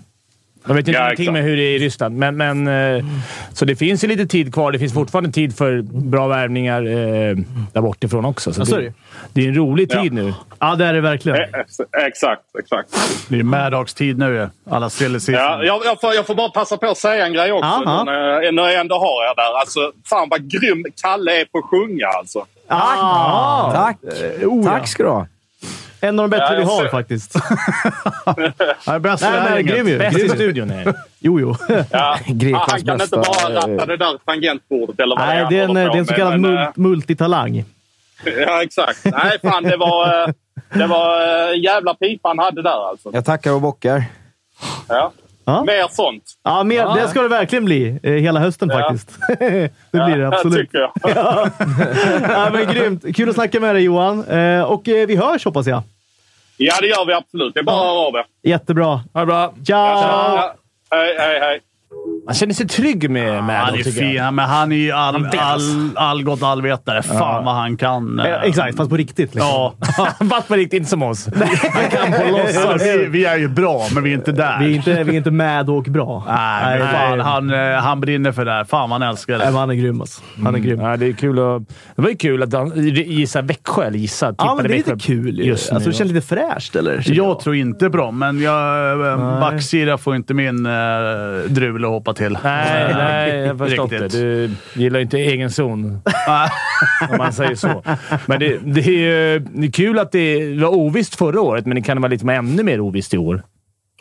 B: Jag vet inte
H: Ja,
B: någonting
H: exakt.
B: med hur det är i Ryssland, men, men, eh, så det finns ju lite tid kvar. Det finns fortfarande tid för bra värvningar eh, där bortifrån också. Så
A: Ja, så är
B: det,
A: det.
B: det är en rolig
H: Ja.
B: tid nu.
A: Ja, det är det verkligen.
H: Eh, eh, Exakt, exakt.
C: Det är ju Maddox-tid nu ju. Alla silly
H: Ja, jag, jag, får, jag får bara passa på att säga en grej också.
A: Mm. Aha.
H: Nu när- när jag ändå har er där. Alltså, fan vad grym Kalle är på att sjunga alltså.
A: Tack!
D: Tack!
A: oh,
D: Tack ska du ha.
A: En av de bättre
H: Ja, jag
A: vi har
H: ser.
A: faktiskt.
C: Ja, det är bäst i det
A: Nej,
C: här
A: men
C: gänget.
A: grym ju.
B: Bäst i
A: Grym.
B: studion är det.
A: Jo, jo.
H: Ja.
A: [LAUGHS]
D: Greklands
H: han kan
D: bästa,
H: inte bara
D: eh,
H: ratta det där tangentbordet eller vad
A: Nej,
H: han
A: det är en, det
H: håller
A: är
H: på
A: en så
H: med,
A: kallad
H: men,
A: mul- multitalang.
H: eh, [LAUGHS] Ja, exakt. Nej, fan det var... eh, Det var eh, jävla pipa han hade där alltså.
D: Jag tackar och bockar.
H: Ja.
A: Ja.
H: Mer sånt.
A: Ja, men det ska det verkligen bli. eh, Hela hösten faktiskt. [LAUGHS] det blir det
H: Ja,
A: absolut.
H: tycker jag.
A: Ja, men grymt! Kul att snacka med dig Johan. Eh, Och eh, vi hörs hoppas jag.
H: Ja, det gör vi absolut. Det är bara att höra av er.
A: Jättebra.
B: Ha det bra.
A: Ciao!
H: Ja. Hej, hej, hej.
B: Man känner sig trygg med ja,
C: Han är fin, men han är ju all,
B: delas.
C: all, allgott allvetare. Fan vad han kan. eh.
A: Eh, Exakt, fast på riktigt. Liksom.
C: Ja,
B: [LAUGHS] Vart på riktigt, inte som oss. Man kan på
C: alltså,
B: låtsas.
C: vi, vi är ju bra, men vi är inte där.
A: Vi, är inte, vi är inte med och bra.
C: Nej, men fan, han, eh, han brinner för det här. Fan vad han älskar
A: Nej,
C: det.
A: men han är grym alltså. Han är grym.
B: Ja, det, är kul att, det var ju kul att han gissa Växjö, eller gissa.
A: Ja,
B: tippade
A: men det är lite
B: Växjö
A: kul ju.
B: Just nu,
A: Alltså, det
B: ja.
A: känns lite fräscht, eller?
C: Jag tror inte på dem, men jag, eh, backsida får inte min eh, drul att hoppa till.
B: Nej, nej, jag har förstått
C: Riktigt.
B: det. Du gillar ju inte egen zon.
A: [LAUGHS]
B: om man säger så. Men det, det är ju det är kul att det var ovisst förra året, men det kan vara lite mer- ännu mer ovisst i år.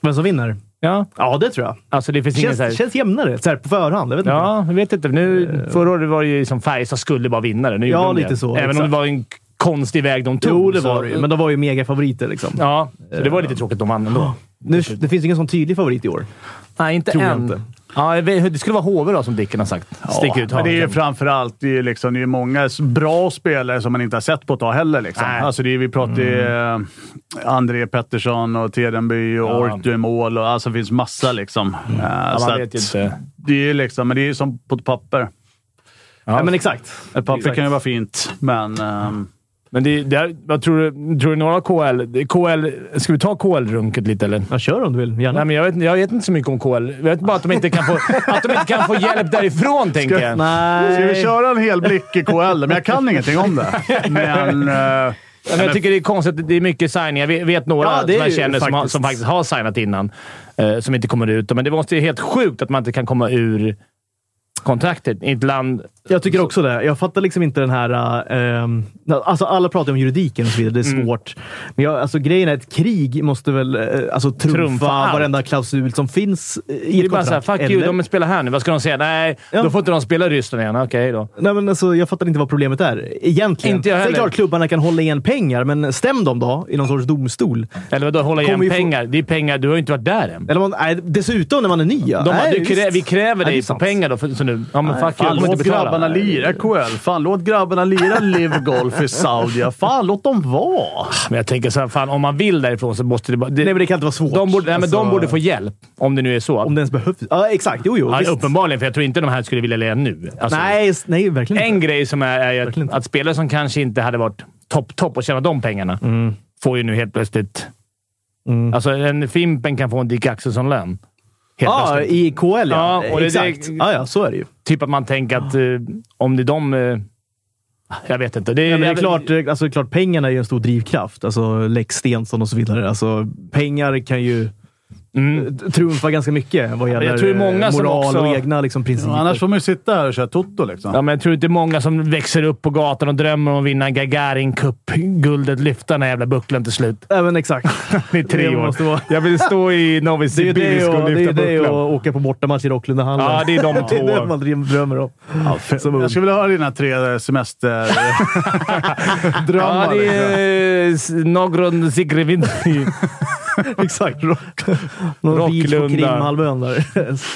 A: Vem som vinner?
B: Ja,
A: Ja, det tror jag.
B: alltså det finns ingen så här...
A: Känns, känns jämnare. Så här, på förhand. Jag vet inte. Eh.
B: Ja, jag vet inte. Nu, förra året var det ju som Färjestad skulle bara vinna det. Nu
A: Ja,
B: gjorde de det.
A: lite så,
B: Även om
A: exakt.
B: det var en konstig väg de tog.
A: Jo, det
B: så-
A: var det ju. Men de var ju megafavoriter liksom.
B: Ja, så det var lite tråkigt att de vann ändå.
A: Nu, det finns ingen sån tydlig favorit i år.
B: Nej, inte
A: Tror jag
B: än.
A: inte.
B: Ja, jag vet- det skulle vara HV då, som Dicken har sagt. Stick ut
C: men det är ju
B: hakan.
C: framförallt det är ju liksom, det är ju många s- bra spelare som man inte har sett på ett tag heller. Liksom.
B: Nej.
C: Alltså det är, vi pratar ju eh, André Pettersson och Tedenby och
B: Ja. Mm.
C: Ortu i mål. Och, alltså det finns massa liksom. Eh, så
B: man vet ju
C: att
B: inte.
C: Det är ju liksom, men det är ju som på ett papper.
B: Ja.
A: Ja, men exakt.
C: Ett papper
A: Exakt.
C: kan ju vara fint, men... ehm,
B: Men det, det här, vad tror du? Tror du några KL? Det- KL ska vi ta KL-runket lite, eller?
A: Ja, kör om du vill. Gärna.
B: Nej, men jag, vet, jag vet inte så mycket om KL. Jag vet bara att de
A: [LAUGHS]
B: inte kan få, att de inte kan få hjälp därifrån, tänker jag.
A: Nej.
C: Ska vi köra en hel blick i KL? Men jag kan ingenting om
B: [LAUGHS]
C: det. Men... eh,
B: Ja, men jag tycker det är konstigt. att Det är mycket signingar. Vi vet några
A: Ja, det är
B: som jag
A: ju
B: känner som, har,
A: faktiskt.
B: som faktiskt har signat innan, eh, som inte kommer ut. Men det måste ju helt sjukt att man inte kan komma ur kontraktet i ett land.
A: Jag tycker också det. Jag fattar liksom inte den här... eh, ehm, alltså alla pratar om juridiken och så vidare. Det
B: Mm.
A: är svårt. Men jag, alltså, grejen är att ett krig måste väl eh, alltså, trumfa,
B: Trumfa allt.
A: varenda klausul som finns eh, i ett
B: Det är bara såhär,
A: kontrakt.
B: fuck you,
A: Eller-
B: de spelar här nu. Vad ska de säga? Nej,
A: Ja.
B: då får inte de spela i Ryssland igen. Okej då.
A: Nej, men alltså, jag fattar inte vad problemet är egentligen.
B: Inte jag
A: Sen är det
B: heller.
A: klart klubbarna kan hålla igen pengar, men stäm dem då i någon sorts domstol.
B: Eller vadå, hålla igen
A: Kommer ju få-
B: pengar? Det är pengar. Du har ju inte varit där än.
A: Eller man, nej, dessutom när man är ny. ja.
B: De bara,
A: Nej,
B: du krä,
A: visst.
B: vi kräver
A: Nej, det är
B: dig på
A: sant.
B: pengar då. För, så nu, ja, men fuck you.
C: Fan,
B: Jag kommer
C: låt
B: inte betala.
C: grabbarna lira KL. Fan, låt grabbarna lira Live Golf i Saudi. Fan, låt dem vara.
B: Men jag tänker såhär, fan om man vill därifrån så måste det bara... Det,
A: Nej, men det kan inte vara svårt.
B: de, borde, nej, men de
A: Alltså,
B: borde få hjälp, om det nu är så.
A: Om det ens behövs. Ja, exakt. Jo, jo.
B: ja,
A: visst.
B: uppenbarligen, för jag tror inte de här skulle vilja lira nu. Alltså,
A: Nej, s- nej, verkligen
B: En
A: inte.
B: grej som är, är ju att, att spelare som kanske inte hade varit topp-topp och tjänat de pengarna får ju nu helt plötsligt... Alltså, en Fimpen kan få en Dick Axelsson-lön. Helt
A: Ja,
B: plötsligt.
A: i KL ja.
B: Ja, och det-
A: exakt.
B: det-
A: ja, ja, så är det ju.
B: Typ att man tänker att eh, om det är de... Eh, jag vet inte. Det, är-
A: Ja, men det är
B: jag-
A: klart, eh, alltså, klart, pengarna är ju en stor drivkraft. Alltså Lex Stensson och så vidare. Alltså, pengar kan ju
B: Mm.
A: eh, trumfa ganska mycket vad gäller
B: jag tror det är
A: eh,
B: många som
A: moral
B: också-
A: och egna liksom, principer.
C: Annars får man ju sitta här och köra Toto liksom.
B: Ja, men jag tror inte det är många som växer upp på gatan och drömmer om att vinna Gagarin Cup-guldet. Lyfta den här jävla bucklan till slut.
A: Även exakt.
B: [LAUGHS] Det är tre
A: Det
B: år.
A: måste vara-
B: Jag vill stå i
A: [LAUGHS]
B: Novi
A: Det är ju det
B: Sibirsk
A: och,
B: och
A: det är ju
B: lyfta
A: det
B: bucklan.
A: och åka på bortamatch i Rocklundahallen.
B: Ja, det är
A: [LAUGHS]
B: de
A: det är det
B: två.
A: man dröm- drömmer om. Som ung.
C: Jag skulle vilja höra dina tre semesterdrömmar.
B: Ja, det är eh,
A: [LAUGHS]
B: Nogron Zigrevin. [LAUGHS]
A: Exakt. Rock, någon bil på
B: Rocklunda.
A: Krimhalvön
B: [LAUGHS]
A: där.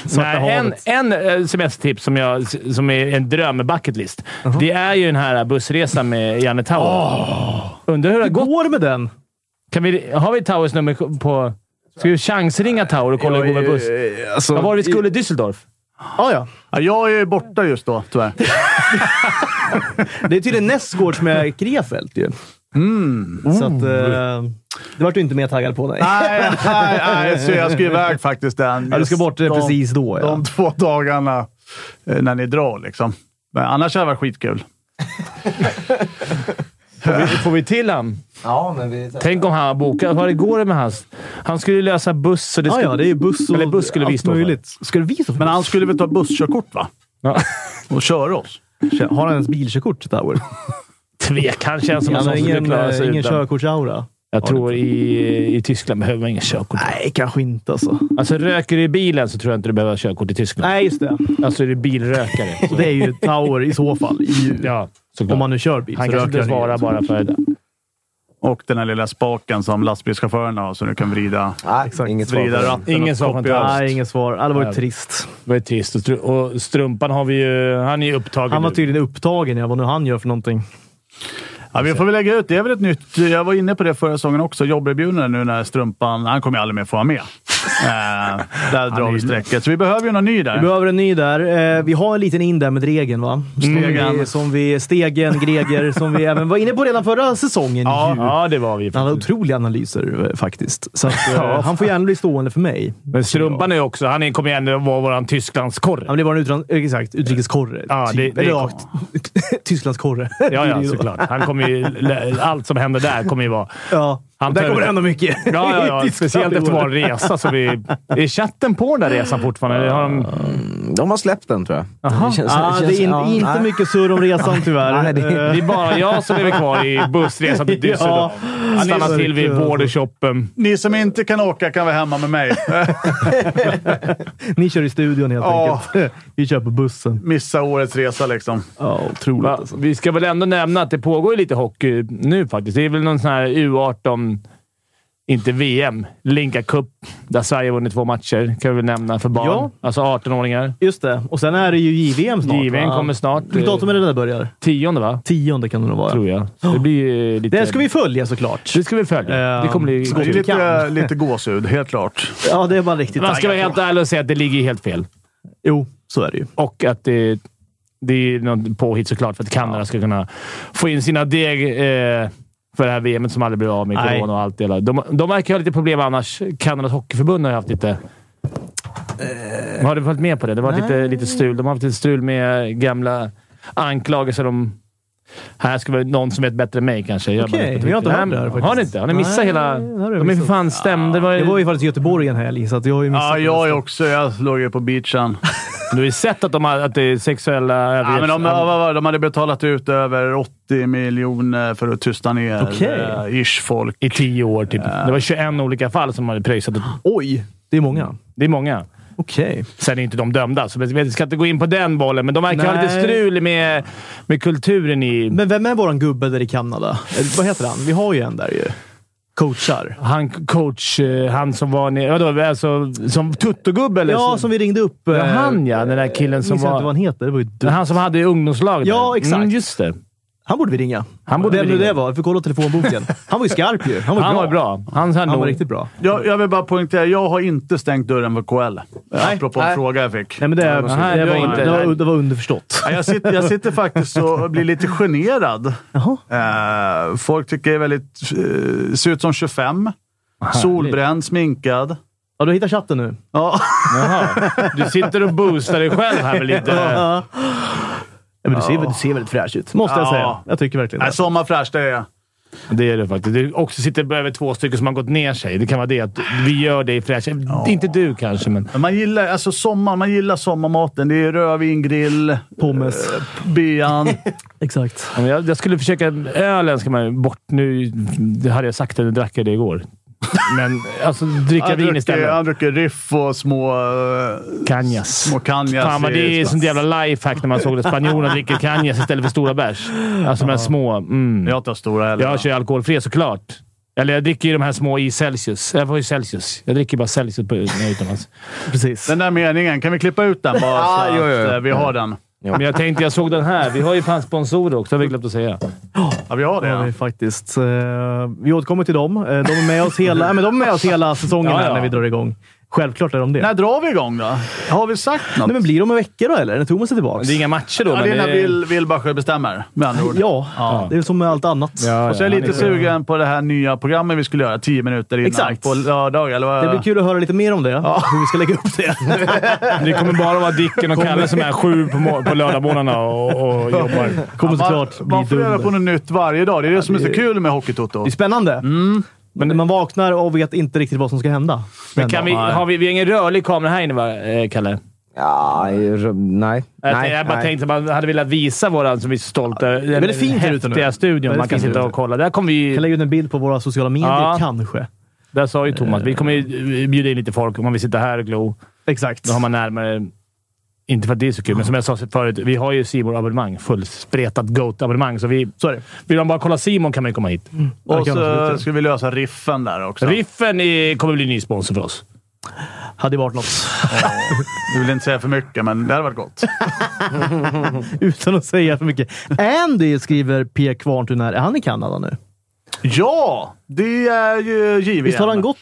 A: Svarta
B: Nej, en,
A: havet.
B: en eh, semestertips som, jag, som är en dröm, bucket list.
A: Uh-huh.
B: Det är ju den här bussresan med Janne Tauer. Undrar hur det har
A: Hur
B: gått.
A: går det med den?
B: Kan vi, har vi Tauers nummer på... Ska vi chansringa Tauer och kolla hur det går med buss?
D: Alltså,
B: Vad var det vi skulle? Düsseldorf?
A: Ah, ja.
C: Ja, jag är borta just då, tyvärr.
A: Det är tydligen Nästgårds med Krefeld ju. Så att, eh, det vart du inte mer taggad på. Mm. Nej.
C: nej, nej, nej, så jag ska iväg faktiskt den.
A: Ja, du ska bort, eh, precis då, ja.
C: De två dagarna eh, när ni drar liksom. Men annars hade det varit skitkul.
B: Får vi, får vi till han?
D: ja, men vi...
B: Tänk om han bokar. Vad det går det med hans? Han skulle ju lösa buss. Så det
A: Ja,
B: skulle,
A: ja, det är ju buss och
B: Eller buss skulle vi
A: allt
B: stå för.
A: möjligt. Ska du visa för
C: Men han skulle väl ta busskörkort va?
B: Ja. [LAUGHS]
C: Och köra oss.
A: Har han ens bilkörkort, Tower?
B: Tvek. Han känns som en
A: Han
B: sån
A: har
B: som skulle
A: ingen,
B: klara sig
A: eh, ingen
B: utan.
A: körkortsaura.
B: Jag tror i, i Tyskland behöver man ingen körkort.
A: Nej, kanske inte alltså.
B: Alltså röker du i bilen så tror jag inte du behöver ha körkort i Tyskland.
A: Nej, just det.
B: Alltså är du bilrökare. så-
A: Det är ju Tower i så fall. I,
B: ja,
A: om
B: såklart.
A: man nu kör bil.
B: han
A: så
B: kanske
A: röker
B: inte
A: han ju.
B: svarar bara för det.
C: Och den här lilla spaken som lastbilschaufförerna har så du kan vrida,
D: Nej, inget svar på
C: vrida
D: det.
C: ratten.
B: Ingen
C: och
B: sak
C: kopiöst.
B: fantastiskt.
A: Nej, inget svar. Ja, Det var ju
B: Nej.
A: trist.
B: Det var ju trist. Och stru- Och strumpan har vi ju... Han är ju upptagen
A: Han var
B: nu.
A: tydligen upptagen i vad nu han gör för någonting.
C: Ja, vi får väl lägga ut. Det är väl ett nytt... Jag var inne på det förra säsongen också. Jobberbjudande nu när Strumpan... Han kommer ju aldrig mer få vara med. Eh, där drar vi strecket. Så vi behöver ju någon ny
A: Vi
C: där.
A: behöver en ny där. Eh, Vi har en liten in där med Dregen, va?
B: Mm.
A: Som
C: Stegen.
A: Vi, som vi, stegen,
B: [LAUGHS]
A: Greger, som vi även var inne på redan förra säsongen.
B: Ja,
A: ju.
B: ja, det var vi.
A: Han har otroliga analyser eh, faktiskt. Så att, eh, han får gärna bli stående för mig.
B: Men strumpan är ju också... Han är- kommer ju ändå vara vår Tysklandskorre.
A: Han blev bara en utran- eh, exakt, utrikeskorre. typ.
B: Ja, det- det-
A: Eller rakt. [LAUGHS] Tysklandskorre.
B: Ja,
A: [LAUGHS] Det är
B: ja,
A: det ju då.
B: såklart. Han kommer ju, allt som händer där kommer ju vara...
A: Ja.
B: Han
A: där
B: tar-
A: kommer det hända mycket.
B: Ja,
A: [LAUGHS]
B: [LAUGHS] ja, ja. Speciellt efter vår resa. Så vi, är chatten på den där resan fortfarande? Eller Har de,
D: De har släppt den, tror jag.
B: Jaha.
D: känns-
A: Ja, det
D: känns-
A: är in,
D: ja,
A: inte
D: nej.
A: mycket surr om resan
B: [LAUGHS]
A: tyvärr.
D: Nej, det-
A: Eh,
B: det är bara jag som lever kvar i bussresan [LAUGHS] till Düsseldorf.
A: Ja.
B: Stannar till vid bordershoppen.
C: Ni som inte kan åka kan vara hemma med mig.
A: Eh, Ni kör i studion helt
C: Ja.
A: enkelt. [LAUGHS] Vi kör på bussen.
C: Missa årets resa liksom.
A: Ja, otroligt
B: Va?
A: alltså.
B: Vi ska väl ändå nämna att det pågår ju lite hockey nu faktiskt. Det är väl någon sån här U18... Inte VM. Linka Cup, där Sverige vunnit två matcher. Kan vi väl nämna för barn.
A: Ja.
B: Alltså 18-åringar.
A: Just det. Och sen är det ju JVM snart.
B: JVM
A: va?
B: kommer snart.
A: Vilket datum är det där börjar?
B: Tionde, va?
A: Tionde kan det nog vara.
B: Tror jag. Så det blir ju lite...
A: Det ska vi följa såklart.
B: Det ska vi följa.
A: Ehm,
B: Det kommer bli
A: så
C: Det är
A: vi
C: lite,
A: kan.
C: Äh, lite gåshud, helt klart.
A: Ja, det är man riktigt
B: Man ska vara
A: taggad
B: helt
A: på.
B: ärlig och säga att det ligger helt fel.
A: Jo, så är det ju.
B: Och att det, det är något påhitt såklart för att Kanada ska kunna få in sina deg eh, för det här VMet som aldrig blir av med
A: Nej.
B: corona och allt det där. De, de verkar ha lite problem annars. Kanadas hockeyförbund har ju haft lite...
A: Eh.
B: Har du varit med på det? Det var lite, lite strul. De har haft lite strul med gamla anklagelser om... Här ska vara någon som vet bättre än mig kanske. Jag
A: Okej,
B: bara-
A: vi har inte hört det här
B: Nej,
A: faktiskt.
B: Har ni inte? Har ni missat
A: Nej,
B: hela...
A: det har vi
B: De är för
A: missat.
B: fan stämda. Det var ju-
A: Jag var ju faktiskt i Göteborg en helg, så att jag har ju missat
C: Ja,
A: det.
C: jag är också. Jag låg ju på beachen.
B: Du har ju sett att, de har, att det är sexuella
C: Ja, men de,
B: Han-
C: vad var det? de hade betalat ut över 80 miljoner för att tysta ner
A: Okej.
C: eh, ish folk.
B: I tio år typ. Det var 21 olika fall som hade pröjsat.
A: Oj, det är många.
B: Det är många.
A: Okej.
B: Sen är inte de dömda, så vi ska inte gå in på den bollen. Men de verkar ha lite
A: Nej.
B: strul med, med kulturen i...
A: Men vem är våran gubbe där i Kanada? Eh, Vad heter han? Vi har ju en där ju. Coachar.
B: Han coach, eh, han som var nere... Vadå? Alltså, som tuttogubbe eller?
A: Ja, som vi ringde upp. eh,
B: Ja, han ja. Den där killen som
A: minns jag
B: var...
A: inte vad han heter. Det var ju
B: Men
A: dumt.
B: han som hade ungdomslaget.
A: Ja,
B: där.
A: exakt.
B: Mm, just det.
A: Han borde vi ringa.
B: Han borde
A: Vem
B: vi
A: nu
B: ringa.
A: det var. Vi får kolla telefonboken. Han var ju skarp ju. Han var,
B: Han
A: bra.
B: var bra. Han, han,
A: Han
B: nog-
A: var riktigt bra.
C: Jag, jag vill bara poängtera, jag har inte stängt dörren för KL. Nej, Eh, apropå en fråga jag fick.
A: Nej, men det, det,
B: Nej, det var
A: var,
B: inte-
A: det, var, det var underförstått.
C: Ja, Jag sitter, jag sitter faktiskt [LAUGHS] och blir lite generad.
A: Jaha.
C: Eh, folk tycker jag är väldigt... eh, ser ut som 25. Solbränd, sminkad.
A: Ja, du hittar chatten nu.
C: [LAUGHS] Ja.
B: Jaha. Du sitter och boostar dig själv här med lite...
A: Ja. Ja, men du, ser, du ser väldigt fräsch ut, måste jag
C: Ja.
A: säga. Jag tycker verkligen
C: Nej,
A: det.
C: sommarfräsch, det är jag.
B: Det är det faktiskt. Du också sitter bredvid två stycken som har gått ner sig. Det kan vara det att vi gör dig fräsch. Inte du kanske, men...
C: Men Man gillar, alltså sommar, man gillar sommarmaten. Det är eh, rödvingrill,
A: Pommes.
C: bean.
A: Exakt.
B: Ja, men Jag, jag skulle försöka... Ölen ska man ju bort nu. Det hade jag sagt, eller drack jag det igår. Men alltså, dricka [LAUGHS]
C: Han
B: vin
C: dricker-
B: istället.
C: Han dricker riff och små... eh,
B: Canjas.
C: Små canjas.
B: Fan vad
C: i-
B: det är sånt jävla lifehack när man såg det. Spanjorerna dricker canjas istället för stora bärs. Alltså de här små. Mm.
C: Jag tar stora heller.
B: Jag kör ju alkoholfria såklart. Eller jag dricker ju de här små i Celsius. Jag var ju Celsius. Jag dricker bara Celsius på, när jag är utomlands.
A: Precis.
C: Den där meningen, kan vi klippa ut den bara så
D: jo, jo,
C: att
D: jo.
C: eh, vi har den?
B: Men jag tänkte, jag såg den här. Vi har ju fan sponsorer också. har vi glömt att säga.
C: Ja, vi har det.
A: Ja,
C: Ja.
A: vi faktiskt. Eh, Vi återkommer till dem. Eh, De är med oss
B: [LAUGHS]
A: hela, nej, men de är med oss hela säsongen
B: Ja, ja.
A: här när vi drar igång. Självklart är de det.
C: När drar vi igång då? Har vi sagt något?
A: Nej, men blir de en vecka då, eller? När Thomas är tillbaka?
B: Det är inga matcher då,
C: ja, det är
B: men
C: när
B: det
C: Will, Will Bacher bestämmer, med andra ord.
A: Ja, det är som med allt annat.
C: Och så är jag lite sugen på det här nya programmet vi skulle göra tio minuter innan.
A: Exakt.
C: På lördag, eller vad?
A: Det blir kul att höra lite mer om det. Hur vi ska lägga upp
B: [LAUGHS]
A: det.
B: det kommer bara vara Dicken och Kalle som är sju på, mor- på lördagmorgnarna och, och jobbar.
A: Kommer
C: Man,
A: såklart
C: man får
A: bli
C: reda
A: dunder.
C: på något nytt varje dag. Det är det som är så kul med Hockeytoto.
A: Det är spännande.
B: Mm.
A: Men när man vaknar och vet inte riktigt vad som ska hända.
B: Men kan vi,
A: Den dagen.
B: har vi, vi har ingen rörlig kamera här inne, va, eh, Kalle?
D: Ja, r- nej.
B: Jag,
D: nej,
B: jag bara
D: nej.
B: tänkte att man hade velat visa våran, som vi är så stolta över, den
A: väldigt fint här ute nu.
B: häftiga studion.
A: Väldigt
B: Man kan
A: fint
B: sitta
A: ute.
B: och kolla. Där,
A: kan
B: kommer vi,
A: lägga ut en bild på våra sociala medier,
B: Ja.
A: kanske.
B: där sa ju Thomas, vi kommer ju bjuda in lite folk om man vill sitta här och glo.
A: Exakt.
B: Då har man närmare... Inte för att det är så kul, men som jag sa förut. Vi har ju simor abonnemang Fullspretat GOAT-abonnemang, så vi...
A: Så är det. Mm,
B: Vill de bara kolla Simon kan man ju komma hit.
C: Och
A: Ja, kan man
C: så
A: absolut.
C: ska vi lösa riffen där också.
B: Riffen är, kommer bli ny sponsor för oss.
A: Hade varit något. [LAUGHS]
C: Du vill inte säga för mycket, men det hade varit gott.
A: Utan att säga för mycket. Andy skriver P. Kvarntun här. Är han i Kanada nu?
C: Ja! Det är ju JVM.
A: Visst har han gått?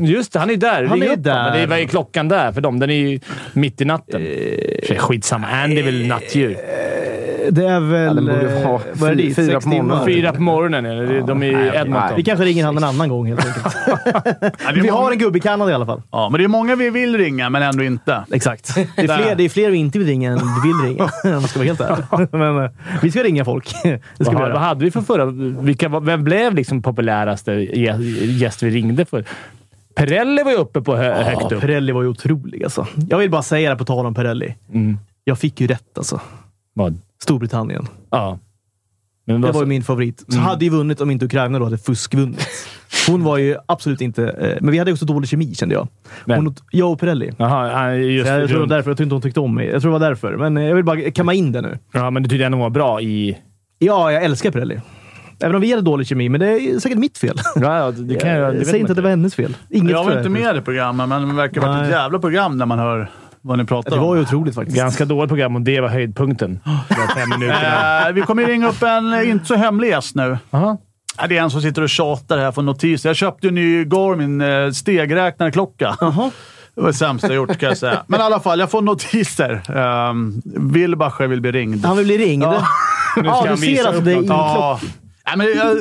B: Just det, han är där.
A: Han
B: Ring
A: är
B: upp honom.
A: där.
B: Men det är, vad är klockan där för dem? Den är ju mitt i natten. Eh, Skitsamma. Andy är
A: eh,
B: väl nattdjur.
A: Det är väl...
D: den borde
A: eh,
D: vara
A: vad är det,
D: fy- fyra
A: sex
D: på morgonen.
A: timmar?
B: Fyra på morgonen är det. De är i
A: Vi
B: Edmonton.
A: kanske ringer han en annan gång helt enkelt.
C: Ja, det är
A: Vi
C: många-
A: har en gubbe i Kanada i alla fall.
C: Ja, men det är många vi vill ringa, men ändå inte.
A: Exakt. Det är fler, det är fler vi inte vill ringa än vi vill ringa, [LAUGHS] om man ska vara helt ärlig. Men eh, vi ska ringa folk. [LAUGHS] Det ska
B: [LAUGHS] Vad,
A: vi
B: vad
A: göra.
B: hade vi för förra... Vilka, var- vem blev liksom populäraste gä- gäst vi ringde för? Perrelli var ju uppe på hö, högt
A: Ja,
B: upp.
A: Perelli var ju otrolig alltså. Jag vill bara säga det här på tal om Perelli. Jag fick ju rätt alltså.
B: Vad?
A: Storbritannien.
B: Ja. Men
A: Det
B: vad,
A: var ju min favorit. Alltså- Så hade ju vunnit om inte Ukraina då hade fuskvunnit. Hon var ju absolut inte... eh, Men vi hade också dålig kemi kände jag.
B: Vem?
A: Hon, och- jag och Perelli.
B: Jaha, ja,
A: Så
B: just
A: jag, tror det
B: runt.
A: var därför, jag tror inte hon tyckte om mig. Jag tror det var därför. Men eh, jag vill bara kamma in det nu.
B: Ja, men det tyckte jag nog var bra i...
A: Ja, jag älskar Perelli. Även om vi hade dålig kemi, men det är säkert mitt fel. Eh,
B: Ja, ja, det kan jag... Det vet
A: Säg
B: man
A: inte att det var hennes fel. Inget
C: Jag var
A: fel.
C: inte med i programmet, men det verkar ha varit ett
A: Nej.
C: jävla program när man hör vad ni pratar
A: Det
C: om.
A: var ju otroligt faktiskt.
B: Ganska dåligt program och det var höjdpunkten. De här fem minuterna.
C: Eh, vi kommer ju ringa upp en eh, inte så hemlig gäst nu.
B: Jaha.
C: Ja, Det är en som sitter och tjatar här från notiser. Jag köpte ju en ny Garmin eh, stegräknarklocka. Det var det sämsta jag gjort kan jag säga. Men i alla fall, jag får notiser. Um, Wilbacher vill bli ringd.
A: Han vill bli ringd. [LAUGHS] Ja,
B: ska han
A: du
B: visa
A: ser alltså
B: upp
A: det i
B: något.
A: klockan.
C: Ja. Nej, men jag,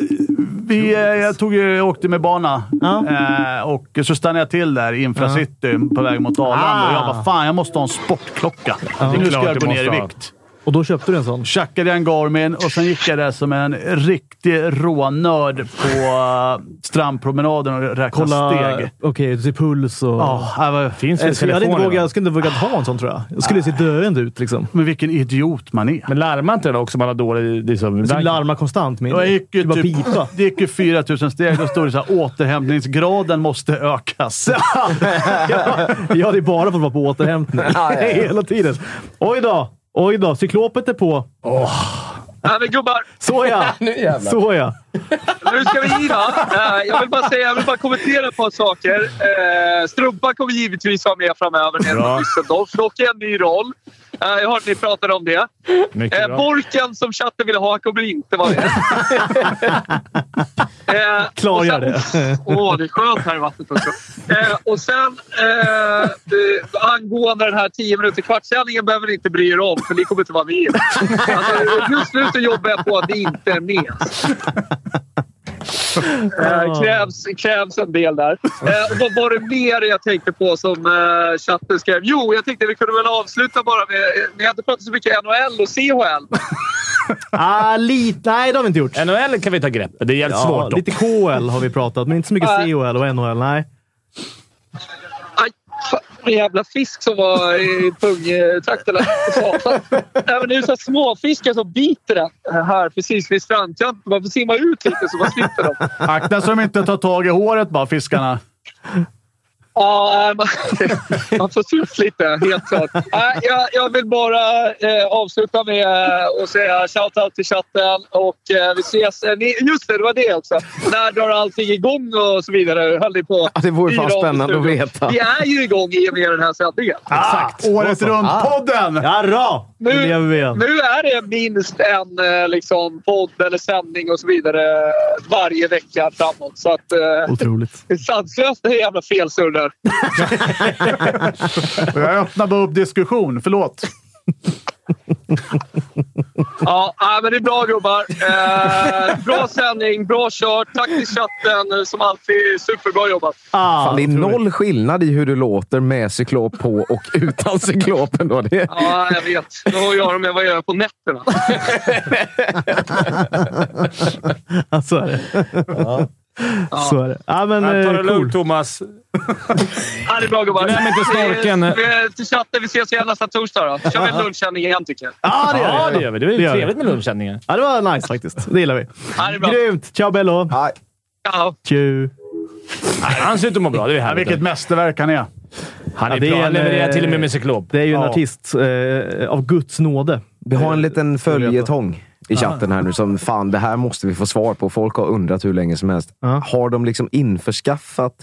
C: vi, eh, jag tog, ju- åkte med bana
A: Ja.
C: eh, och så stannade jag till där i Infracity på väg mot Arlanda och jag bara “Fan, jag måste ha en sportklocka. Nu
B: Klart
C: ska jag
B: du
C: gå ner i
B: måste ha.
C: vikt”.
A: Och då köpte du en sån?
C: Tjackade jag en Garmin och sen gick jag där som en riktig rånörd på eh, strandpromenaden och räknade
A: Kolla...
C: steg.
A: Okej, du ser puls och...
C: Ja, det var
B: Finns det
A: Jag skulle, jag hade inte
B: telefoner,
A: vågat,
B: va?
A: jag skulle inte vågat ha en sån tror jag. Jag skulle se döende ut liksom.
C: Men vilken idiot man är.
B: Men larmar inte den också om man har dålig... Liksom,
A: Jag skulle larma konstant. Med.
C: Och jag gick ju
A: Det var
C: typ,
A: pipa. [LAUGHS]
C: Det gick ju 4000 steg. Då stod det så här, återhämtningsgraden måste ökas.
A: Jag hade ju bara fått vara på återhämtning [LAUGHS] hela tiden. Oj då! Oj då! Cyklopet är på.
E: Nej, men gubbar,
A: Såja! Såja!
E: nu ska vi giva. Eh, jag vill bara säga, jag vill bara kommentera ett par saker. Eh, Strumpa kommer givetvis vara med framöver. Nere på Düsseldorf. Dock i en ny roll. Eh, jag hörde ni pratade om det.
B: Mycket
E: Eh,
B: bra.
E: Borken som chatten ville ha kommer inte vara med. eh,
A: Klargör
E: och sen- Åh, det är skönt här i vattnet också. Eh, och sen eh, eh, angående den här 10 minuter kvartssändningen behöver ni inte bry er om för ni kommer inte vara med. Alltså, just nu så jobbar jag på att ni inte är med. Eh, krävs, krävs en del där. Eh, och vad var det mer jag tänkte på som eh, chatten skrev? Jo, jag tänkte vi kunde väl avsluta bara med... eh, Ni hade pratat så mycket NHL och CHL.
A: Ah, lite. Nej, det har vi inte gjort.
B: NHL kan vi ta grepp Det är jävligt svårt dock.
A: lite KL har vi pratat, men inte så mycket
E: Nej.
A: COL och NHL. Nej.
E: Aj, fan, en jävla fisk som var i pungtrakterna.
D: [LAUGHS]
E: Satan. Nej, men Det är så här småfiskar som biter den här precis vid strandkanten. Man får simma ut lite så man slipper dem.
C: Akta så de inte tar tag i håret bara, fiskarna.
E: Ja, man, man [LAUGHS] får surfa lite, helt klart. Nej, jag, jag vill bara eh, avsluta med eh, att säga shout-out till chatten och eh, vi ses. Eh, Ni, just det, det var det också. När drar allting igång och så vidare? Höll ni på?
D: Ja, det vore fan
E: Fyra avsnitt
D: spännande att
E: nu.
D: veta.
E: Vi är ju igång i och med den här sändningen.
C: Exakt. [LAUGHS] året runt-podden!
A: Jarra! Nu
E: Nu-
A: lever vi igen.
E: Nu är det minst en eh, liksom, podd eller sändning och så vidare varje vecka framåt. Så att, eh,
A: Otroligt.
E: [LAUGHS] det är sanslöst det här jävla felsurrar.
C: Och Jag öppnar bara upp diskussion. Förlåt.
E: Ja, nej, men det är bra gubbar. Eh, bra sändning, bra kört. Tack till chatten eh, som alltid. Superbra jobbat.
A: Ah,
D: Fan, det är noll skillnad i hur du låter med cyklop på och utan cyklopen. Då. Det,
E: Ja, jag vet. Det har att göra med vad jag gör på nätterna.
A: Ja, så är det. [LAUGHS] Så är det. Ja, men,
B: Ta
A: eh,
B: det
A: cool.
B: lugnt, Thomas.
E: Ja, det är bra gubbar.
B: Glöm inte snorken.
E: Eh, eh, Till chatten, vi ses igen nästa torsdag då. Kör vi
B: [LAUGHS]
E: en lunchsändning igen tycker jag.
A: Ja, det
B: Ja,
A: gör
B: det
A: det.
B: gör vi. Det är
A: Det gör vi.
B: trevligt med lunchsändningar.
A: Ja, det var nice faktiskt. Det gillar vi.
E: Ja, det är bra.
A: Grymt! Ciao Bello!
D: Nej.
E: Ciao.
A: Tju!
B: Han ser ut att må bra. Det är
C: Ja,
B: härligt.
C: vilket mästerverk han är.
B: Han är
A: Ja, det är
B: bra. Han
A: en,
B: levererar
A: eh,
B: till och med med cyklop.
A: Det är ju en
B: Ja.
A: artist eh, av Guds nåde.
D: Vi har en liten följetong i chatten här nu som fan, det här måste vi få svar på. Folk har undrat hur länge som helst.
A: Ja.
D: Har de liksom införskaffat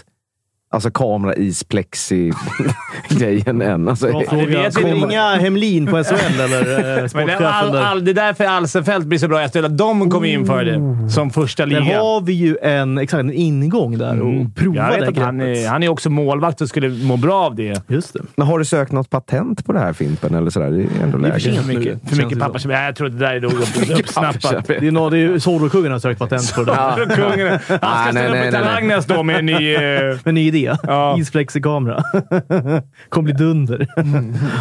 D: alltså kamera is plexi [LAUGHS] grejen än? Alltså,
A: Bra
B: det
A: fråga.
B: vet vi
A: Kommer
B: inte.
A: inga Hemlin på
B: [LAUGHS]
A: SHL eller eh,
B: Men det,
A: sportchefen
B: är all,
A: där?
B: all, det är därför Alsenfelt blir så bra efter att de kommer införa det som första
A: Där
B: liga.
A: har vi ju en, exakt, en ingång där och prova
B: Mm. Jag vet
A: det
B: att han
A: greppet.
B: är, han är också målvakt och skulle må bra av det.
A: Just det.
D: Men har du sökt något patent på det här Fimpen? Eller sådär? Det är ändå
A: Det är för
D: läge.
A: sent
B: För
A: nu.
B: mycket, för mycket papper som... Nej, jag tror att det där är nog upp- uppsnappat.
A: Det är, nå- det är ju Zorro-kungen har
B: [LAUGHS]
A: sökt patent på det. där.
B: Kungen, han
D: Nej,
B: ska
D: nej,
B: ställa upp
D: nej, nej,
B: i Talang nästa år med en ny... eh,
A: En ny idé.
B: Ja.
A: Isflexikamera. [LAUGHS] Kommer bli dunder.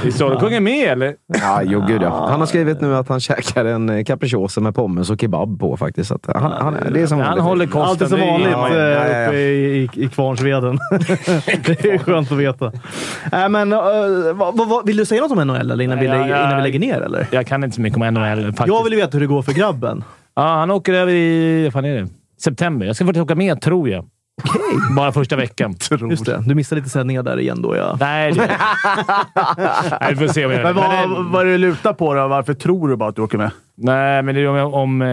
B: Är Zorro-kungen med, eller?
D: Ja, jo, gud, ja. Han har skrivit nu att han käkar en eh, capricciosa med pommes och kebab på faktiskt. Så att eh, han, han, det är som
B: Han
D: vanligt.
B: håller kosten.
A: Allt är som
B: det
A: vanligt
B: gillar man ju.
A: eh,
D: ja, ja.
A: uppe i, i, i
B: [LAUGHS]
A: Kvarnsveden. det är skönt att veta. Äh, men, eh, vad, vad, vill du säga något om NHL eller innan, vi,
B: Nej,
A: lägger,
B: jag-
A: innan vi lägger ner? Eller?
B: Jag kan inte så mycket om NHL faktiskt.
A: Jag vill ju veta hur det går för
B: [LAUGHS]
A: grabben.
B: Ja, han åker över i... Vad fan är det? September. Jag ska faktiskt åka med, tror jag. Bara första veckan.
A: Just det, du missade lite sändningar där igen då. Ja.
B: Nej, det... Nej, vi får se om jag gör
C: Men
B: det.
C: vad,
B: Men det-
C: vad är det du lutar på då? Varför tror du bara att du åker med?
B: Nej, men det är om jag, om, eh,